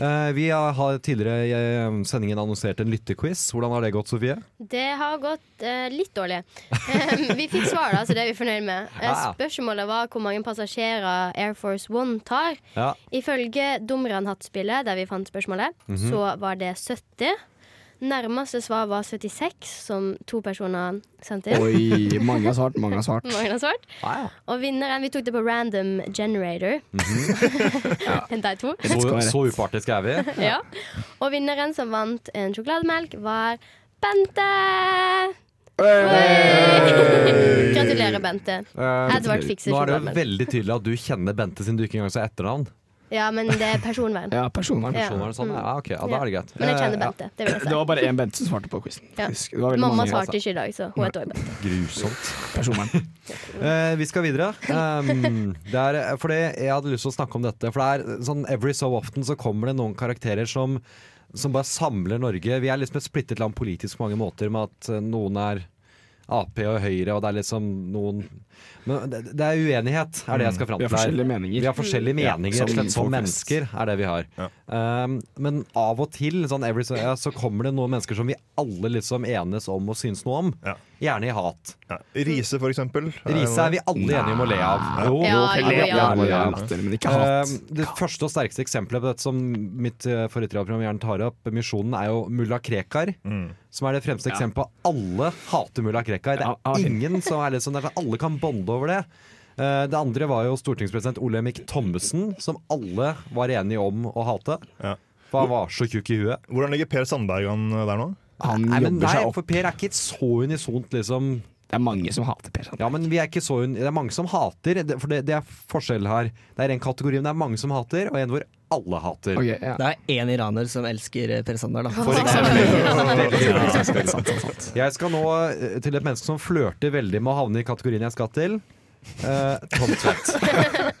Speaker 4: Eh, vi har har tidligere i eh, sendingen annonsert en lyttequiz. Hvordan har det gått, Sofie?
Speaker 7: Det har gått eh, litt dårlig. Eh, vi fikk svar, da, så det er vi fornøyd med. Eh,
Speaker 4: Ja.
Speaker 7: spørsmålet var hvor mange passasjerer Air Force One tar.
Speaker 4: Ja.
Speaker 7: Ifølge Dumran-hattspillet, der vi fant spørsmålet,
Speaker 4: Mhm.
Speaker 7: så var det 70. Nærmeste svar var 76, som to personer sendte inn.
Speaker 5: Oi, mange har svart, mange har svart.
Speaker 7: Mange har svart.
Speaker 4: Ja,
Speaker 7: Og vinneren Vi tok det på random generator. *laughs*
Speaker 5: Mhm.
Speaker 7: De to.
Speaker 4: Så,
Speaker 5: skal være rett.
Speaker 4: så upartisk er vi.
Speaker 7: *laughs* Ja. Og vinneren som vant en sjokolademelk, var Bente! Oi! *laughs* Gratulerer, Bente.
Speaker 4: Eh,
Speaker 7: Edvard fikser
Speaker 4: Nå er det jo
Speaker 7: sjokolademelk.
Speaker 4: veldig tydelig at du kjenner Bente sin du ikke engang sa etternavn.
Speaker 7: Ja, men det er personvern.
Speaker 5: Ja, personvern.
Speaker 7: Ja. Mm.
Speaker 4: Sånn var det sånn, ja, ok, ja, da er det greit.
Speaker 7: Men jeg kjenner
Speaker 4: Eh,
Speaker 7: Bente. Det vil jeg
Speaker 5: Det
Speaker 7: si.
Speaker 5: var bare én Bente som svarte på quizen.
Speaker 7: Ja.
Speaker 5: faktisk. Det var veldig
Speaker 7: Mamma
Speaker 5: mange altså.
Speaker 7: svarte ikke i dag, så hun heter også Bente.
Speaker 4: ja, Grusomt.
Speaker 5: personvern.
Speaker 4: Eh, vi skal videre.
Speaker 7: *laughs*
Speaker 4: Um, det er, fordi jeg hadde lyst til å snakke om dette. For det er sånn every so often så kommer det noen karakterer som, som bare samler Norge. Vi er liksom et splittet land politisk på mange måter, med at eh, noen er Ap og Høyre, og det er liksom noen Men det, det er uenighet, er det jeg skal fram
Speaker 5: Vi
Speaker 4: til.
Speaker 5: har forskjellige meninger.
Speaker 4: Vi har forskjellige
Speaker 5: Ja,
Speaker 4: meninger, rett og slett,
Speaker 5: som
Speaker 4: som
Speaker 5: folk
Speaker 4: mennesker, er det vi har. Um, men av og til sånn every, so- ja, så kommer det noen mennesker som vi alle liksom enes om og syns noe om.
Speaker 6: Ja.
Speaker 4: Gjerne i hat.
Speaker 6: Ja. Rise, for eksempel.
Speaker 4: Riise er vi alle enige om å le av. Jo,
Speaker 7: Ja, jo,
Speaker 5: Ja,
Speaker 7: ja.
Speaker 5: det er latter, men ikke hat.
Speaker 4: Eh, det første og sterkeste eksempelet på dette som mitt eh, forrige program gjerne tar opp, misjonen, er jo mulla Krekar.
Speaker 5: Mm.
Speaker 4: Som er det fremste eksempelet på at alle hater mulla Krekar. Det
Speaker 5: Ja,
Speaker 4: er
Speaker 5: ja, fint.
Speaker 4: ingen som er litt sånn der, for Alle kan bonde over det. Eh, det andre var jo stortingspresident Olemic Thommessen, som alle var enige om å hate.
Speaker 6: Ja.
Speaker 4: For han var så tjukk i huet.
Speaker 6: Hvordan ligger Per Sandberg an der nå?
Speaker 5: Han
Speaker 4: Nei, men
Speaker 5: jobber
Speaker 4: nei,
Speaker 5: seg opp.
Speaker 4: for Per er ikke så unisont, liksom.
Speaker 5: Det er mange som hater Per Sandberg.
Speaker 4: Ja, men vi er ikke så un... Det er mange som hater, det- for det, det er forskjell her. Det er en kategori men det er mange som hater, og en hvor alle hater.
Speaker 5: Ok, ja.
Speaker 8: Det er én iraner som elsker eh, Per Sander, da.
Speaker 6: For eksempel.
Speaker 4: Jeg skal nå eh, til et menneske som flørter veldig med å havne i kategorien jeg skal til. Eh, Tom
Speaker 5: *laughs*
Speaker 4: Tvedt.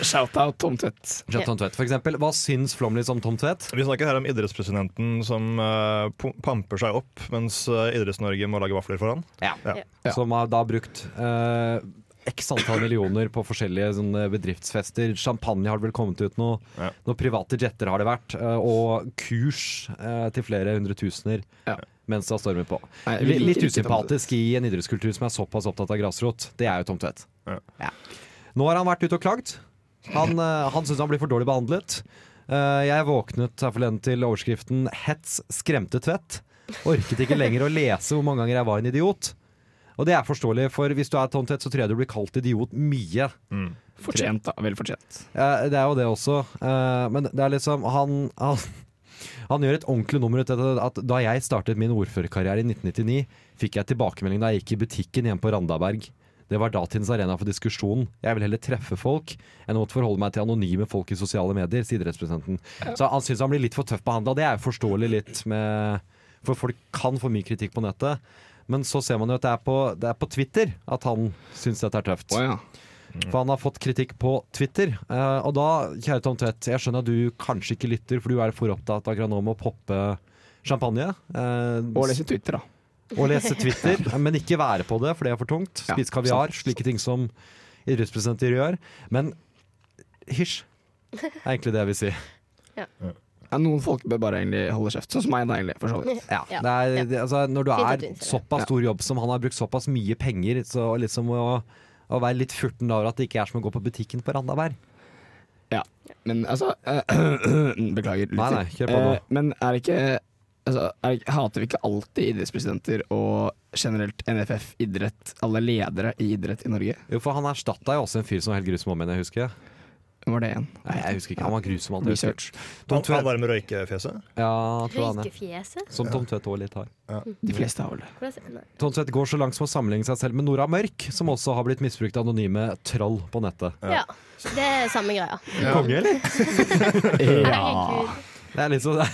Speaker 5: Shout-out Tom Tvedt.
Speaker 4: Kjøp Tom Tvedt, for eksempel. Hva syns Flåmlys om Tom Tvedt?
Speaker 6: *laughs* Vi snakker her om idrettspresidenten som eh, pu- pamper seg opp mens eh, Idretts-Norge må lage vafler for han.
Speaker 5: Ja.
Speaker 4: Som har da brukt eh, x antall millioner på forskjellige sånne bedriftsfester. Champagne har det vel kommet ut noe.
Speaker 6: Ja.
Speaker 4: Noen private jetter har det vært. eh, og kurs eh, til flere hundretusener.
Speaker 5: Ja.
Speaker 4: Mens det har stormet på.
Speaker 5: Nei, vi
Speaker 4: Litt,
Speaker 5: liker
Speaker 4: litt
Speaker 5: ikke Tom Tvedt.
Speaker 4: usympatisk i en idrettskultur som er såpass opptatt av grasrot. Det er jo Tom Tvedt.
Speaker 6: Ja.
Speaker 4: Ja. Nå har han vært ute og klagd. *laughs* Han, eh, han syns han blir for dårlig behandlet. Eh, jeg våknet her forleden til overskriften 'Hets skremte Tvedt'. Orket ikke lenger å lese hvor mange ganger jeg var en idiot. Og det er forståelig, for hvis du er Tom Tvedt, så tror jeg du blir kalt idiot mye.
Speaker 5: Fortjent, da. Vel fortjent.
Speaker 4: Eh, det er jo det også. Eh, men det er liksom Han, han han gjør et ordentlig nummer ut av det at da jeg startet min ordførerkarriere i 1999, fikk jeg tilbakemelding da jeg gikk i butikken hjemme på Randaberg. Det var datidens arena for diskusjon. Jeg vil heller treffe folk enn å måtte forholde meg til anonyme folk i sosiale medier, sier idrettspresidenten. Så han syns han blir litt for tøft behandla. Det er jo forståelig litt med For folk kan få mye kritikk på nettet. Men så ser man jo at det er på, det er på Twitter at han syns dette er tøft.
Speaker 5: Å ja.
Speaker 7: Mm.
Speaker 4: For han har fått kritikk på Twitter. Eh, og da, kjære Tom Tvedt, jeg skjønner at du kanskje ikke lytter, for du er for opptatt akkurat nå med å poppe champagne. eh,
Speaker 5: Og lese Twitter, da.
Speaker 4: og lese Twitter,
Speaker 7: *laughs*
Speaker 4: men ikke være på det, for det er for tungt.
Speaker 5: Ja,
Speaker 4: Spise kaviar,
Speaker 5: sant,
Speaker 4: slike ting som idrettspresidenter gjør. Men hysj, er egentlig det jeg vil si.
Speaker 5: Ja, noen folk bør bare egentlig holde kjeft, sånn som meg, da, egentlig. For så vidt.
Speaker 4: Ja,
Speaker 7: Ja.
Speaker 4: det er, det, altså, når du
Speaker 7: Fint at
Speaker 4: er
Speaker 7: du innser det.
Speaker 4: såpass stor jobb som han har brukt såpass mye penger, så liksom å, å være litt furten over at det ikke er som å gå på butikken på Randaberg.
Speaker 5: Ja. Men altså *clears throat* Beklager. litt
Speaker 4: Nei, nei,
Speaker 5: til.
Speaker 4: kjør på nå.
Speaker 5: Eh, Men er det ikke altså, er det, ikke- Hater vi ikke alltid idrettspresidenter og generelt NFF, idrett, alle ledere i idrett i Norge?
Speaker 4: Jo, for han erstatta jo også en fyr som var helt grusom om igjen, jeg husker.
Speaker 5: Hvem Var det en?
Speaker 4: Nei, jeg husker ikke. Han var grusom. Han,
Speaker 5: Research.
Speaker 4: Tom
Speaker 6: Han, han
Speaker 4: Tvedt.
Speaker 6: der med røykefjeset?
Speaker 4: Ja, jeg tror han er.
Speaker 7: Røykefjeset?
Speaker 4: Som Tom Tvedt også litt har.
Speaker 5: De fleste har vel det.
Speaker 7: Hvordan ser- nei.
Speaker 4: Tom Tvedt går så langt som å sammenligne seg selv med Nora Mørk, som også har blitt misbrukt av anonyme troll på nettet.
Speaker 7: Ja. Det er samme greia.
Speaker 4: Konge, eller?
Speaker 7: Herregud.
Speaker 4: Det er litt *laughs* sånn- det er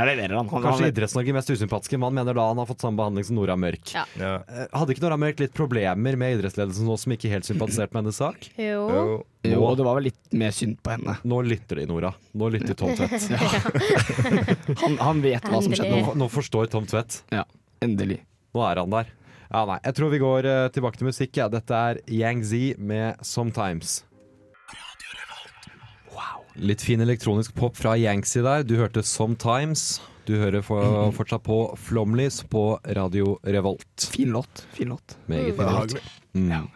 Speaker 5: Jeg leverer han. han,
Speaker 4: kanskje
Speaker 5: han
Speaker 4: Idretts-Norge mest usympatiske. Man mener da han har fått samme behandling som Nora Mørk.
Speaker 7: Ja.
Speaker 6: Ja.
Speaker 4: Eh, Hadde ikke Nora Mørk litt problemer med idrettsledelsen nå som ikke helt sympatiserte med hennes sak?
Speaker 7: Jo.
Speaker 5: jo, og det var vel litt mer synd på henne.
Speaker 4: Nå lytter de, Nora. Nå lytter Tom Tvedt.
Speaker 5: Han, han vet hva som skjedde.
Speaker 4: Nå, nå forstår Tom Tvedt.
Speaker 5: Ja, endelig.
Speaker 4: Nå er han der. Ja, nei. Jeg tror vi går eh, tilbake til musikk. Ja. Dette er Yang Z med 'Sometimes'. Litt fin elektronisk pop fra Yanksy der. Du hørte 'Sometimes'. Du hører *clears throat* for, fortsatt på Flomlys på Radio Revolt.
Speaker 5: Fin låt. Fin låt.
Speaker 4: Meget fin låt. Mm.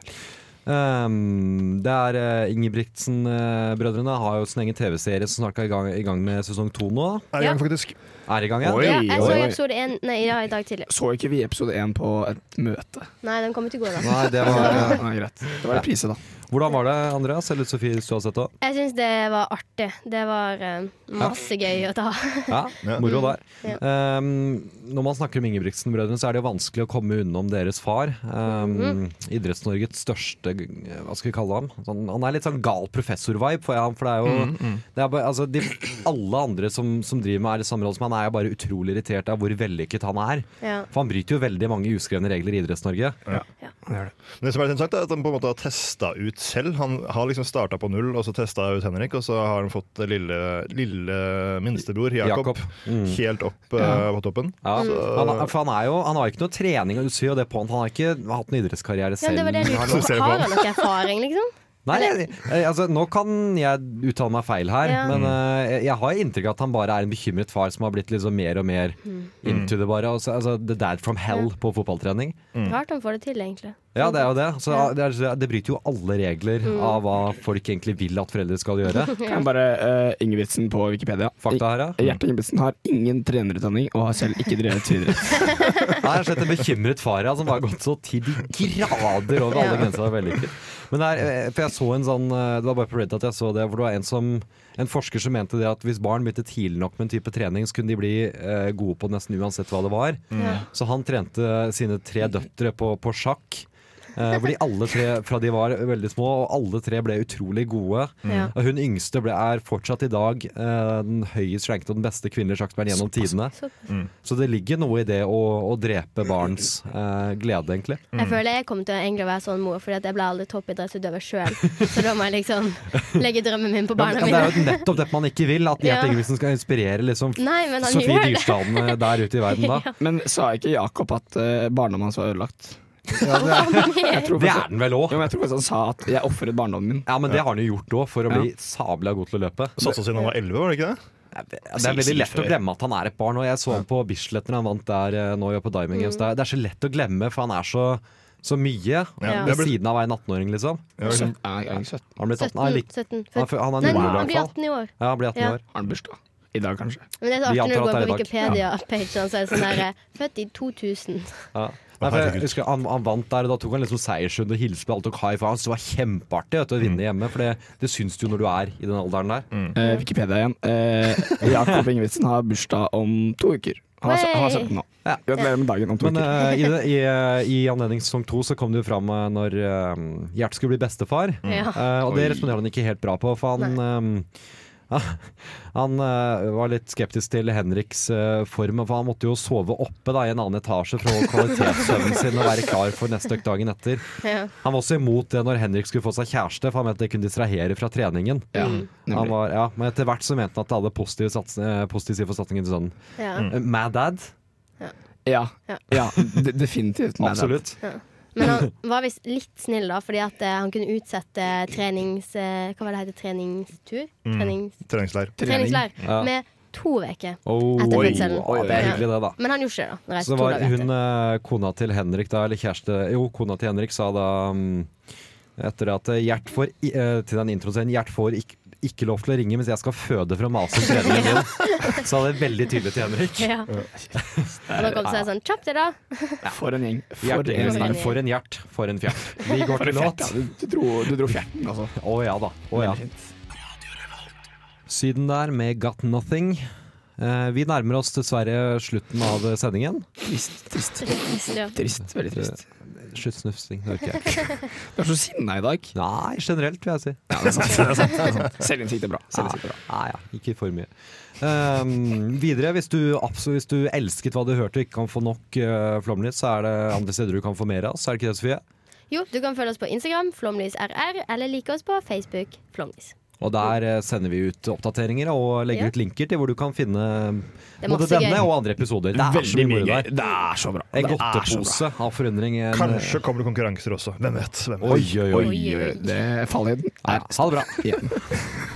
Speaker 4: Ehm, det er eh, Ingebrigtsen-brødrene har jo sin egen TV-serie som snart er i gang, i gang med sesong to nå.
Speaker 6: Er i gang, faktisk.
Speaker 4: Er i gang, ja.
Speaker 5: Oi,
Speaker 7: Ja, jeg så
Speaker 5: oi, oi.
Speaker 7: episode én Nei, ja, i dag tidlig.
Speaker 5: Så ikke vi episode én på et møte?
Speaker 7: Nei, den kom ikke i går, da.
Speaker 4: Nei, det var, eh,
Speaker 5: Ja, nei, greit. Det var det priset, da.
Speaker 4: hvordan var det, Andreas? Eller Sofie, hvis du har sett det?
Speaker 7: Jeg syns det var artig. Det var eh, masse gøy å ta.
Speaker 4: Ja,
Speaker 6: Ja.
Speaker 4: moro der. Um, når man snakker om Ingebrigtsen-brødrene, så er det jo vanskelig å komme unnom deres far. Um,
Speaker 7: Mhm.
Speaker 4: Idretts-Norges største Hva skal vi kalle ham? Sånn, han er litt sånn gal professor-vibe, for, han- for det er jo Det er bare, altså, de, Alle andre som, som driver med er i samme rolle som han, er jo bare utrolig irritert av hvor vellykket han er.
Speaker 7: Ja.
Speaker 4: For han bryter jo veldig mange uskrevne regler i Idretts-Norge.
Speaker 6: Men det som er litt interessant er at han på en måte har testa ut selv. Han har liksom starta på null, og så testa ut Henrik, og så har han fått lille, lille minstebror Jakob,
Speaker 4: Jakob. Mm.
Speaker 6: helt opp eh, på toppen.
Speaker 4: Ja, han, er- for han, er jo, han har jo ikke noe trening, og du ser jo det på han. Han har ikke hatt en idrettskarriere
Speaker 7: Ja,
Speaker 4: selv.
Speaker 7: men det var det jeg
Speaker 4: Han-
Speaker 7: lurte
Speaker 6: ser
Speaker 7: på.
Speaker 6: på
Speaker 7: Har
Speaker 6: han.
Speaker 7: han noe erfaring,
Speaker 4: *laughs*
Speaker 7: liksom?
Speaker 4: Nei, jeg, jeg, altså, nå kan jeg uttale meg feil her,
Speaker 7: Ja.
Speaker 4: men eh, jeg, jeg har inntrykk av at han bare er en bekymret far som har blitt liksom mer og mer into det bare. Altså, altså, the dad from hell på fotballtrening.
Speaker 7: Rart han får det til, egentlig.
Speaker 4: Ja, det er jo det. Så, det, er, det bryter jo alle regler av hva folk egentlig vil at foreldre skal gjøre.
Speaker 5: *laughs* Kan jeg bare eh, Ingebrigtsen på Wikipedia.
Speaker 4: Fakta her, ja.
Speaker 5: I- Gjert Eh, Ingebrigtsen har ingen trenerutdanning og har selv ikke drevet
Speaker 4: *laughs*
Speaker 5: idrett.
Speaker 4: Det er slett en bekymret far ja, som har gått så til de grader over alle
Speaker 7: Ja.
Speaker 4: grenser av vellykket. Men det er, eh, for jeg så en sånn eh, Det var bare på Reddit at jeg så det, hvor det var en, som, en forsker som mente det at hvis barn begynte tidlig nok med en type trening, så kunne de bli eh, gode på nesten uansett hva det var.
Speaker 7: Mm. Ja.
Speaker 4: Så han trente sine tre døtre på, på sjakk. Eh, hvor de alle tre fra de var veldig små, og alle tre ble utrolig gode.
Speaker 7: Ja.
Speaker 4: Og hun yngste ble, er fortsatt i dag eh, den høyest ranket og den beste kvinnelige sjakkspilleren gjennom tidene.
Speaker 7: Såpass.
Speaker 4: Så det ligger noe i det å, å drepe barns eh, glede, egentlig.
Speaker 7: Jeg føler jeg kommer til å egentlig være sånn mor, Fordi at jeg ble aldri toppidrettsutøver
Speaker 4: *laughs*
Speaker 7: sjøl. Så da må jeg liksom legge drømmen min på
Speaker 4: Ja, men- ja,
Speaker 7: barna
Speaker 4: det er
Speaker 7: mine.
Speaker 4: jo nettopp det man ikke vil, at
Speaker 7: Ja.
Speaker 4: Gjert Ingebrigtsen skal inspirere liksom,
Speaker 7: Nei, men han
Speaker 4: Sofie
Speaker 7: gjør det.
Speaker 4: Dyrstaden eh, der ute i verden,
Speaker 7: *laughs*
Speaker 4: da.
Speaker 5: Men sa ikke Jakob at eh, barndommen hans var ødelagt?
Speaker 4: *laughs*
Speaker 5: Jeg tror
Speaker 4: Det
Speaker 5: faktisk,
Speaker 4: er den vel
Speaker 5: jo,
Speaker 4: òg!
Speaker 5: men jeg tror faktisk han sa at 'jeg ofret barndommen min'.
Speaker 4: Ja, men det har han jo gjort òg, for å bli sabla god til å løpe.
Speaker 6: Satsa siden han var 11, var det ikke det?
Speaker 4: Det er veldig lett å glemme at han er et barn. Og jeg så han på Bislett når han vant der eh, nå på Diamond
Speaker 7: Mm.
Speaker 4: Games. Det er- Det er så lett å glemme, for han er så, så mye
Speaker 7: Ja.
Speaker 4: ved siden av å være en 18-åring, liksom.
Speaker 6: Ja, liksom.
Speaker 5: Søtt- Nei, jeg er ikke søtt.
Speaker 4: Han blir 18,
Speaker 7: 17,
Speaker 4: nei, litt,
Speaker 7: 17
Speaker 4: han er fø- han er
Speaker 7: Nei,
Speaker 4: null, i
Speaker 7: han
Speaker 4: hvert
Speaker 7: blir
Speaker 4: fall.
Speaker 7: 18 i år.
Speaker 4: ja, han blir 18
Speaker 7: Ja.
Speaker 4: år.
Speaker 5: Har han bursdag? I dag, kanskje.
Speaker 7: Men det er så
Speaker 4: Vi
Speaker 7: artig når du
Speaker 4: antar
Speaker 7: går
Speaker 4: at
Speaker 7: på
Speaker 4: det er
Speaker 7: Wikipedia-pagen, så er det sånn der eh, Født i 2000.
Speaker 4: Ja. Nei, for
Speaker 6: herregud.
Speaker 4: jeg husker han, han vant der, og da tok han liksom seiersrunde og hilste på alle tok high five. Så det var kjempeartig vet du, å vinne hjemme, for det, det syns du jo når du er i den alderen der.
Speaker 5: Eh, Wikipedia igjen. Eh, Jakob Ingebrigtsen har bursdag om to uker. Han er, han er 17 nå.
Speaker 4: Ja.
Speaker 5: Gratulerer med dagen om
Speaker 7: *laughs*
Speaker 5: to
Speaker 4: Men
Speaker 5: uker.
Speaker 4: eh, i, det- i, eh, i anledning til sesong to så kom det jo fram eh, når eh, Gjert skulle bli bestefar.
Speaker 7: Ja.
Speaker 4: Eh, og det responderer han ikke helt bra på, for han eh, *laughs* han eh, var litt skeptisk til Henriks eh, form, for han måtte jo sove oppe da, i en annen etasje for å holde kvalitetssøvnen sin og være klar for neste økt dagen etter.
Speaker 7: *laughs* Ja.
Speaker 4: Han var også imot det når Henrik skulle få seg kjæreste, for han mente det kunne distrahere fra treningen.
Speaker 5: Ja,
Speaker 4: Han
Speaker 5: nemlig.
Speaker 4: var, ja, men etter hvert så mente han at det hadde positive, sats, eh, positive sider for satsingen til sønnen.
Speaker 7: Ja.
Speaker 4: Eh, Mad dad?
Speaker 5: ja,
Speaker 7: Ja.
Speaker 5: ja de, definitivt. Nei, det er-
Speaker 4: Absolutt.
Speaker 7: Men han
Speaker 4: *laughs*
Speaker 7: var visst litt snill, da, fordi at eh, han kunne utsette trenings... eh, Hva var det det heter? Treningstur? Trenings,
Speaker 6: Treningsleir.
Speaker 7: treningslær.
Speaker 4: Mm. Ja.
Speaker 7: Med to uker.
Speaker 4: Oh,
Speaker 7: Etter
Speaker 4: oi,
Speaker 7: fødselen.
Speaker 4: oi, det er
Speaker 7: Ja.
Speaker 4: hyggelig, det, da.
Speaker 7: Men han gjorde ikke det. da. Han reiste
Speaker 4: Så
Speaker 7: to
Speaker 4: var
Speaker 7: dager etter.
Speaker 4: hun eh, kona til Henrik da, eller kjæreste Jo, kona til Henrik sa da mm, etter at eh, Gjert får i- eh, til den introscenen Gjert får ikke, ikke lov til å ringe mens jeg skal føde fra mase om treningen din. Sa det veldig tydelig til Henrik.
Speaker 7: Ja. *laughs* Og da kom det sånn Kjapp
Speaker 4: *laughs*
Speaker 7: deg, da!
Speaker 5: For en gjeng. For
Speaker 4: Gjert,
Speaker 5: en gjeng.
Speaker 4: Ingebrigtsen, for en Gjert, for en fjert. Vi går til låt.
Speaker 5: Ja, du, du, dro, du dro fjerten, altså.
Speaker 4: Å ja da. Å ja. Syden der med Got Nothing. Eh, vi nærmer oss dessverre slutten av sendingen.
Speaker 5: Trist, trist.
Speaker 7: Ja.
Speaker 5: Trist, Veldig trist.
Speaker 4: Sluttsnufsing, det hører ikke jeg.
Speaker 5: Du er så sinna i dag.
Speaker 4: Nei, generelt, vil jeg si.
Speaker 5: Ja, det er sant. Det er sant, det er sant. Selvinnsikt er bra. Selvinnsikt er bra.
Speaker 4: Nei, ja, ikke for mye. Ehm, videre, hvis du, absolutt, hvis du elsket hva du hørte og ikke kan få nok uh, flomlys, så er det andre steder du kan få mer av oss, er det ikke det, Sofie?
Speaker 7: Jo, du kan følge oss på Instagram, flomlysrr, eller like oss på Facebook, flomlys.
Speaker 4: Og der eh, sender vi ut oppdateringer og legger
Speaker 7: Ja.
Speaker 4: ut linker til hvor du kan finne
Speaker 7: Det er
Speaker 4: både
Speaker 7: masse
Speaker 4: denne
Speaker 7: gøy.
Speaker 4: og andre episoder. Det er så
Speaker 5: Veldig
Speaker 4: mye
Speaker 5: mye
Speaker 4: der.
Speaker 5: gøy. Det er så bra.
Speaker 4: En
Speaker 5: Det er så bra.
Speaker 4: godtepose av forundring. eh, En,
Speaker 6: Kanskje kommer det konkurranser også. Hvem vet? Hvem vet?
Speaker 4: Oi, oi, oi. 哎
Speaker 5: Oi, oi, oi. Det, fallhøyden
Speaker 4: Ja,
Speaker 5: er
Speaker 4: ha det bra.
Speaker 5: igjen.